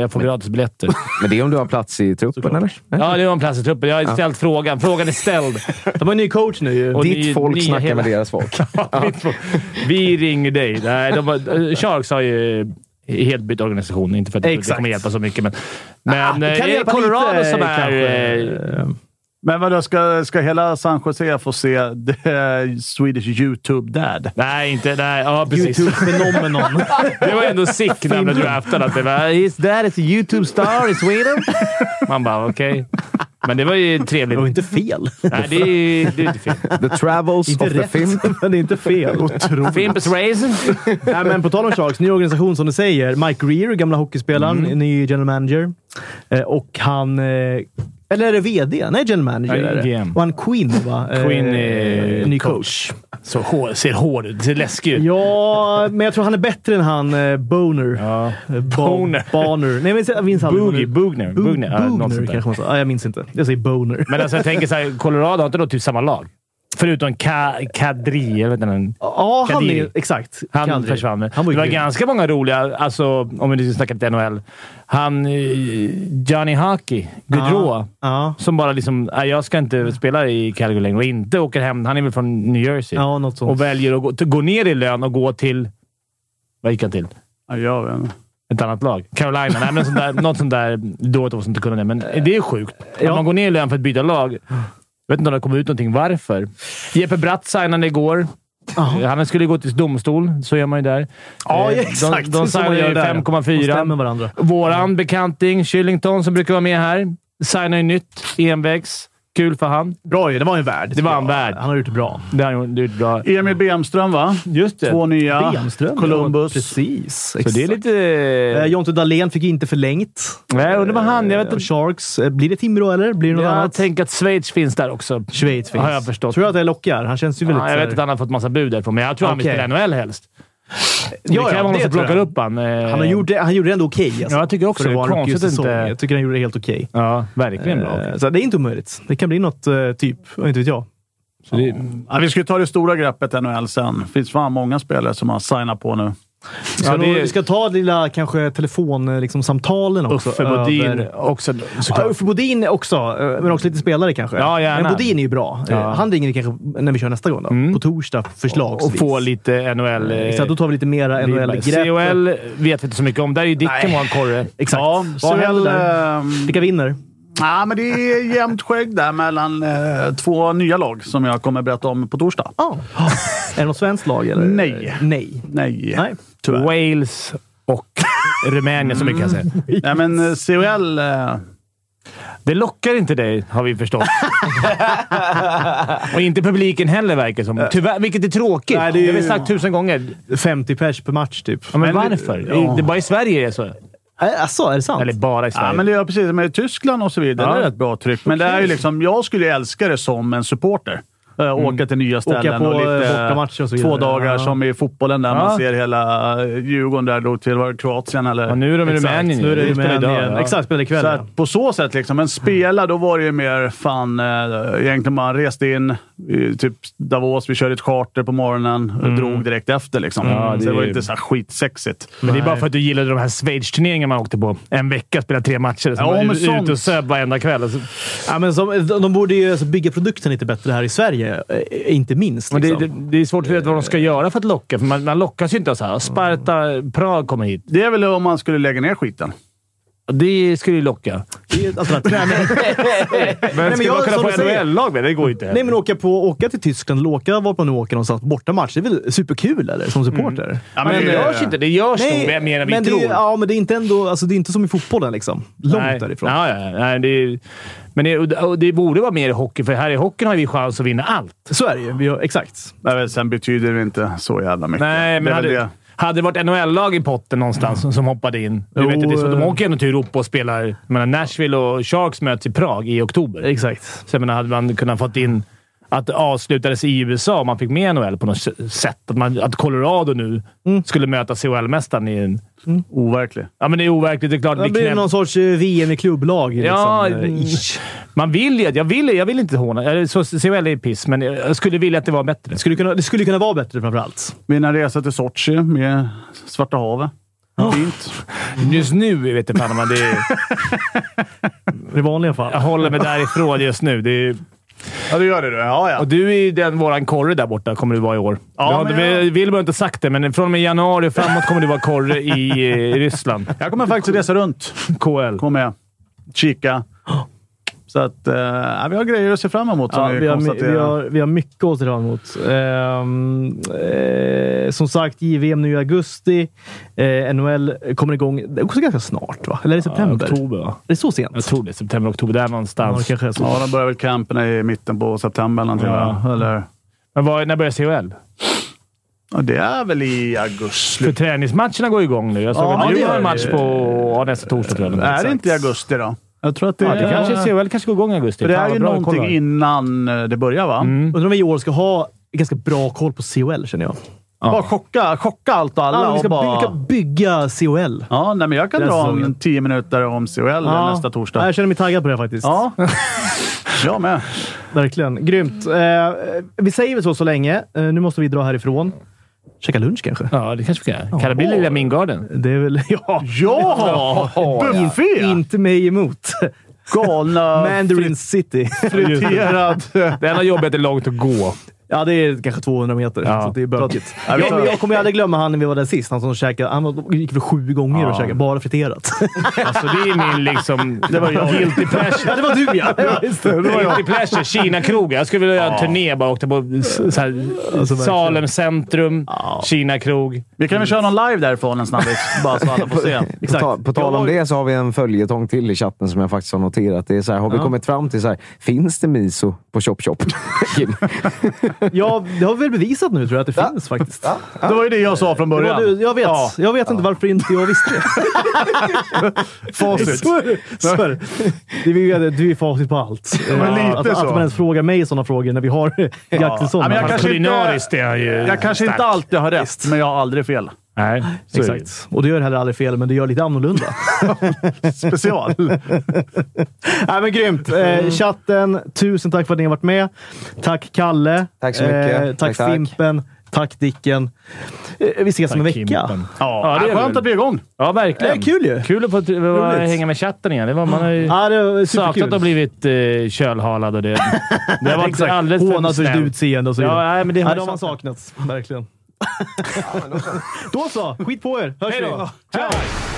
B: jag får gratisbiljetter.
D: Men det är om du har plats i truppen, eller?
B: Ja, det är om plats i truppen. Jag har ställt frågan. Frågan är ställd.
A: De har en ny coach nu ju.
B: Och
D: Ditt
B: ni-
D: folk
B: ni är
D: snackar
B: hela-
D: med deras folk.
B: Mitt folk. Vi ringer dig. Nej, de har, eh, Sharks har ju helt bytt organisation. Inte för att det
A: Exakt.
B: kommer hjälpa så mycket, men... Men
A: det
B: eh,
A: kan
B: det är
A: hjälpa
B: Colorado
A: lite,
B: som är...
A: kanske.
B: eh,
C: Men vadå, ska, ska hela San Jose få se the Swedish YouTube Dad?
B: Nej, inte... Nej, ja, precis.
A: Youtube-fenomenon.
B: [LAUGHS] Det var ändå sick när du draftade att det var “Is that is a YouTube star in Sweden?” Man bara okej. Men [LAUGHS] det var ju trevligt.
A: Och inte fel.
B: Nej, det är, det är inte fel.
D: The Travels
A: Inte
D: of the Film.
A: rätt, [LAUGHS] men det är inte fel.
B: Fimpens Race.
A: Nej, men på tal om Sharks, ny organisation som du säger. Mike Greer, gamla hockeyspelaren,
B: Mm.
A: ny general manager. Eh, och han... Eh, eller är det VD? Nej, general manager
B: Ja,
A: är det.
B: GM.
A: Och han Quinn, va? Eh,
B: Quinn är
A: ny coach.
B: Så hår, ser hård ut. Ser läskig ut.
A: Ja, men jag tror han är bättre än han eh, Boner.
B: Ja.
A: Eh, Bo-
B: Boner.
A: Boner. Nej, men jag minns aldrig. vad
B: Boogie.
A: det-
B: Bugner.
A: Bo-
B: Bugner. Ja, något
A: Bugner
B: sånt där.
A: kanske man sa. Ja, jag minns inte. Jag säger Boner.
B: Men alltså, jag tänker så här, Colorado har inte då typ samma lag? Förutom Ka Kadri, eller vad heter han?
A: Ja, han
B: Kadiri.
A: är... Exakt.
B: Han
A: Kadri.
B: försvann.
A: Han var
B: det var
A: ju grym.
B: ganska många roliga, alltså, om vi nu snackar lite NHL. Han, eh, Johnny Hockey, Gaudreau,
A: Ja.
B: som bara liksom "Nej, “Jag ska inte spela i Calgary längre” och inte åker hem. Han är väl från New Jersey.
A: ja, något sånt.
B: och väljer att gå, gå ner i lön och gå till... Vad gick han till?
C: Ja, jag vet inte.
B: Ett annat lag. Carolina. Nej, men sånt där, något sånt där dåligt av oss att inte kunna det, men det är sjukt. Att man går ner i lön för att byta lag. Jag vet inte om det har kommit ut någonting varför. Jeppe Bratt signade igår. Han skulle ju gå till domstol. Så gör man ju där.
A: Ja,
B: Eh,
A: exakt. Så
B: De, de
A: man
B: signade
A: gör
B: ju
A: där. De
B: 5,4.
A: stämmer varandra.
B: Våran bekanting Shillington, som brukar vara med här, signar ju nytt. Envägs. Kul för han.
A: Bra ju. Det var en värd.
B: Det var en
A: Ja,
B: värd.
A: Han har gjort det bra.
B: Det har han gjort bra.
C: Emil Bemström, va?
B: Just det.
C: Två nya.
A: Bemström,
C: Columbus.
A: ja, Precis.
B: Så det är
A: Eh,
B: lite...
A: Jonte Dahlén fick inte förlängt.
B: Nej, undrar vad han... Jag vet
A: Eh,
B: inte.
A: Sharks. Eh, Blir det Timrå eller blir det något
B: Jag
A: annat?
B: tänker att Schweiz finns där också.
A: Schweiz finns.
B: Har jag förstått.
A: Tror du att det lockar? Han känns ju väldigt...
B: Ja, jag
A: så här-
B: vet att han har fått massa bud därifrån, men jag tror han vill
A: Okej.
B: spela NHL helst. det
A: ja,
B: kan vara
A: det
B: någon som
A: tror
B: plockar
A: jag.
B: upp han. eh,
A: han, har gjort det, han gjorde det ändå okej. alltså.
B: Ja, jag tycker också
A: För
B: det.
A: var en
B: Konstigt
A: rookie-säsong.
B: inte-
A: Jag tycker han gjorde det helt okej.
B: Ja, verkligen bra.
A: Eh, Så det är inte omöjligt. Det kan bli något eh, typ. Inte vet jag.
B: Så det,
C: Ja, vi ska ju ta det stora greppet NHL sen. Det finns fan många spelare som har signat på nu.
A: Vi ska,
B: Ja, det
A: nog,
B: är-
A: vi ska ta lilla kanske telefonsamtalen liksom, samtalen också.
B: Uffe Bodin
A: över-
B: också
A: Ja,
B: såklart.
A: Uffe Bodin också, eh, men också lite spelare kanske.
B: Ja, gärna.
A: men Bodin är ju bra. Eh,
B: Ja. Mm.
A: Han ringer vi kanske när vi kör nästa gång då. På torsdag
B: Och
A: förslagsvis.
B: få lite NHL... eh,
A: Exakt, då tar vi lite mera NHL-grepp.
B: CHL vet vi inte så mycket om. Där är ju Dicken vår korre.
A: Exakt.
C: Ja,
A: Vad händer
C: CHL,
A: där?
C: ehm,
A: Vilka vinner?
C: Ja, men det är jämnt skägg där mellan eh, två nya lag som jag kommer berätta om på torsdag.
A: Ja. [LAUGHS] är det något svenskt lag? Eller?
C: Nej.
A: Nej.
C: Nej,
A: Nej.
C: tyvärr.
B: Wales
A: [LAUGHS]
B: och Rumänien, som vi kan säga.
A: Mm.
C: Nej, men eh, CHL... Eh,
B: Det lockar inte dig, har
A: [LAUGHS]
B: vi förstått. och inte publiken heller, verkar det som. Tyvärr, vilket är tråkigt.
A: Nej, det är ju-
B: Det har vi sagt tusen gånger.
A: 50 pers per match typ.
B: Ja, men, varför? Det är bara i Sverige det är så.
A: Äh, Asså, är det sant?
B: Eller bara i Sverige.
C: Ja, men det är precis. Med Tyskland och så vidare.
B: Ja.
C: Det är ett bra tryck. Men det är ju liksom, jag skulle ju älska det som en supporter. Äh, Åka till nya ställen
A: Åka på,
C: och
A: eh,
C: lite
A: bortamatcher och så vidare.
C: två dagar
A: Ja.
C: som i fotbollen där
B: Ja.
C: man ser hela eh, Djurgården där drog till. Var det Kroatien eller?
B: Ja, nu är de i
C: Exakt.
B: Rumänien.
A: Nu är det
B: De spelar
A: Rumänien.
B: idag, ja.
A: Exakt, spelar ikväll.
C: Så
A: ja.
C: att på så sätt liksom. Men spela, då var det ju mer fan. Eh, egentligen man reste in i typ Davos. Vi körde ett charter på morgonen och drog direkt efter liksom.
B: Ja,
C: så
B: det
C: det var
B: är-
C: ju inte så här skitsexigt.
B: Men det är bara för att du gillade de här Schweiz-turneringarna man åkte på. En vecka, spela tre matcher. Sen
C: Ja,
B: var
C: men
B: du
C: sånt.
B: ute och söp varenda kväll. Alltså,
A: ja, men som, de, de borde ju alltså, bygga produkten lite bättre här i Sverige. eh, Inte minst.
B: men det,
A: Liksom.
B: det, det är svårt att veta vad de ska göra för att locka, för man, man lockas ju inte av så här. Sparta, Prag kommer hit.
C: Det är väl om man skulle lägga ner skiten.
B: Det skulle ju locka.
A: Det är ett alternativ.
B: Men ska
A: jag-
B: man kunna
A: som
B: få
A: du säger-
B: NHL-lag med? Det går ju inte.
A: Nej, men åka, på, åka till Tyskland eller åka vart man nu åker någonstans på bortamatch. Det är väl superkul, eller? Som supporter.
C: Ja,
B: men det
C: det-
B: görs inte. Det görs nog Mm. mer än vi
A: men
B: tror.
A: Det är, ja, men det är inte ändå... Alltså, det är inte som i fotbollen liksom. Långt därifrån.
B: Ja, ja, ja. nej, det är, men det, och det borde vara mer i hockey, för här i hockeyn har vi chans att vinna allt.
A: Så är det ju. Vi har, exakt.
C: Nej, men sen betyder det inte så jävla mycket.
B: Nej,
C: det
B: men
C: är
B: hade
C: väl det.
B: det, hade det varit NHL-lag i potten någonstans som- som hoppade in. Du vet, ju, det är så, de åker ju ändå till Europa och spelar. Jag menar, Nashville och Sharks möts i Prag i oktober.
A: Exakt.
B: Så jag menar, hade man kunnat fått in att det avslutades i USA om man fick med NHL på något sätt. Att, man, att Colorado nu skulle möta CHL-mästaren i en...
C: Overklig.
B: Ja, men det är overkligt. Det är klart.
A: Det
B: vi
A: blir
B: knäpp-
A: någon sorts eh, VM i klubblag. Liksom.
B: Ja,
A: eh,
B: mm.
A: ish.
B: Man vill ju... Jag vill, jag vill inte håna. Eller Så CHL är piss, men jag skulle vilja att det var bättre.
A: Skulle kunna, det skulle kunna vara bättre framförallt.
C: Mina resor till Sochi med Svarta havet. Fint.
B: Just nu vet jag fan om man det är,
A: I vanliga fall.
B: Jag håller mig därifrån just nu. Det är,
C: Ja, det gör det du. Ja, ja.
B: och du är ju den, våran korre där borta, kommer du vara i år.
C: Ja,
B: Ja, du har,
C: men
B: inte-
C: jag-
B: vi- Wilbur har inte sagt det, men från och med januari och framåt kommer du vara korre i,
C: [LAUGHS]
B: eh, Ryssland.
C: Jag kommer faktiskt resa runt.
B: KL.
C: Kommer jag. Kika. Så att, eh, ja, vi har grejer att se fram emot som
A: Ja,
C: vi,
A: vi, har, my-
C: konstaterar.
A: vi, har, vi har mycket att se fram emot. Ehm, eh, som sagt, JVM nu i augusti. Eh, NHL kommer igång det är också ganska snart, va? Eller i september?
B: Oktober, va?
A: Är det så sent?
B: Jag tror det. September, oktober. Där någonstans.
A: Ja, det kanske är så.
C: Ja, de börjar väl camperna i mitten på september eller någonting,
B: Ja.
C: va? eller?
B: Men vad, när börjar CHL?
C: Ja, det är väl i augusti.
B: För träningsmatcherna går igång nu. Jag såg
C: Ja,
B: att
C: det
B: du har
C: gör
B: en match
C: det.
B: på ja, nästa torsdag, tror jag.
C: Är det inte i augusti då? Jag tror att det,
B: Ja, det kanske CHL kanske går igång i augusti.
C: För det
B: Fan,
C: är
B: vad
C: ju
B: bra,
C: någonting
B: kolla.
C: innan eh, det börjar, va?
A: Undrar om vi i år ska ha ganska bra koll på COL, känner jag.
C: Bara chocka, chocka allt och alla.
A: Alla, vi ska
C: och bara...
A: bygga, bygga COL.
C: Ja, nej, men jag Äh, kan
A: Den
C: dra
A: säsongen.
C: en tio minuter om CHL nästa torsdag.
A: Jag känner mig taggad på det här faktiskt.
C: Ja, [LAUGHS] jag med.
A: Verkligen. Grymt. Eh, vi säger väl så så länge. Eh, nu måste vi dra härifrån. Käka lunch kanske?
B: Ja, det kanske vi kan göra. Kan det bli Lilla Min Garden?
A: Det är väl... [LAUGHS] Ja!
C: Ja! Buffé!
A: Inte mig emot.
C: Galna...
A: Mandarin City.
C: friterad...
B: Det enda jobbet är långt
C: [LAUGHS]
B: att gå.
A: ja, det är kanske 200 meter,
B: Ja.
A: så det är bökigt.
C: Ja,
A: Jag,
C: vi
A: men
C: tar-
A: jag kommer ju aldrig glömma han när vi var där sist. Han som käkade... Han var- gick väl sju gånger och käkade bara friterat.
B: Alltså, det är min liksom... Det var jag. Guilty pleasure.
A: ja, det var du [LAUGHS] ja! ja just det.
B: Det var Guilty pleasure. Kina-krogen. Jag skulle vilja göra en turné bara. Åkte på s- så här, Salem centrum, Kina-krog.
C: Vi kan väl köra någon live därifrån en [LAUGHS] snabbis, bara så alla får se.
D: På, ta, på tal om det så har vi en följetong till i chatten som jag faktiskt har noterat. Det är så här, har vi kommit fram till så här, finns det miso på Chop Chop? Kim?
A: ja, det har vi väl bevisat nu tror jag att det finns faktiskt.
C: Det var ju det jag sa från
A: Det var
C: början.
A: du, jag vet, jag vet inte varför inte jag [LAUGHS] visste det.
C: Facit.
A: Så är det. Så är det. det. är ju- Du är facit på allt.
C: men lite
A: att, att
C: så.
A: man ens frågar mig sådana frågor när vi har Jackson.
C: Ja, men jag
B: Fast
C: kanske inte-
B: kulinariskt är han ju
C: Jag kanske inte alltid har rätt, men jag har aldrig fel.
B: Nej, så är det.
A: Exakt. Och du gör heller aldrig fel, men du gör lite annorlunda.
B: [LAUGHS]
C: Special.
A: [LAUGHS] Nej, men grymt! Eh, chatten, tusen tack för att ni har varit med. Tack Kalle. Eh,
D: Tack så
A: tack,
D: mycket. Tack, tack.
A: Fimpen. Tack Dicken. Eh, vi ses om en
B: Tack,
A: vecka.
B: Kimpen.
C: Ja,
B: Ja, det är
C: skönt
B: väl.
C: att vi är igång.
B: Ja, verkligen.
A: Eh, kul ju.
B: Kul att få t- vara-
A: Roligt.
B: hänga med chatten igen. Det var, man har ju
A: Ja, det var
B: saknat att ha
A: superkul.
B: blivit eh, kölhalad och det. Det har varit alldeles för
A: Hånad för sitt
B: snällt.
A: utseende och så vidare.
B: Ja, nej, men det har
A: Ja,
B: jag
A: de har
B: [LAUGHS]
A: saknats. Verkligen. då så. Skit på er! Hörs vi! Ciao.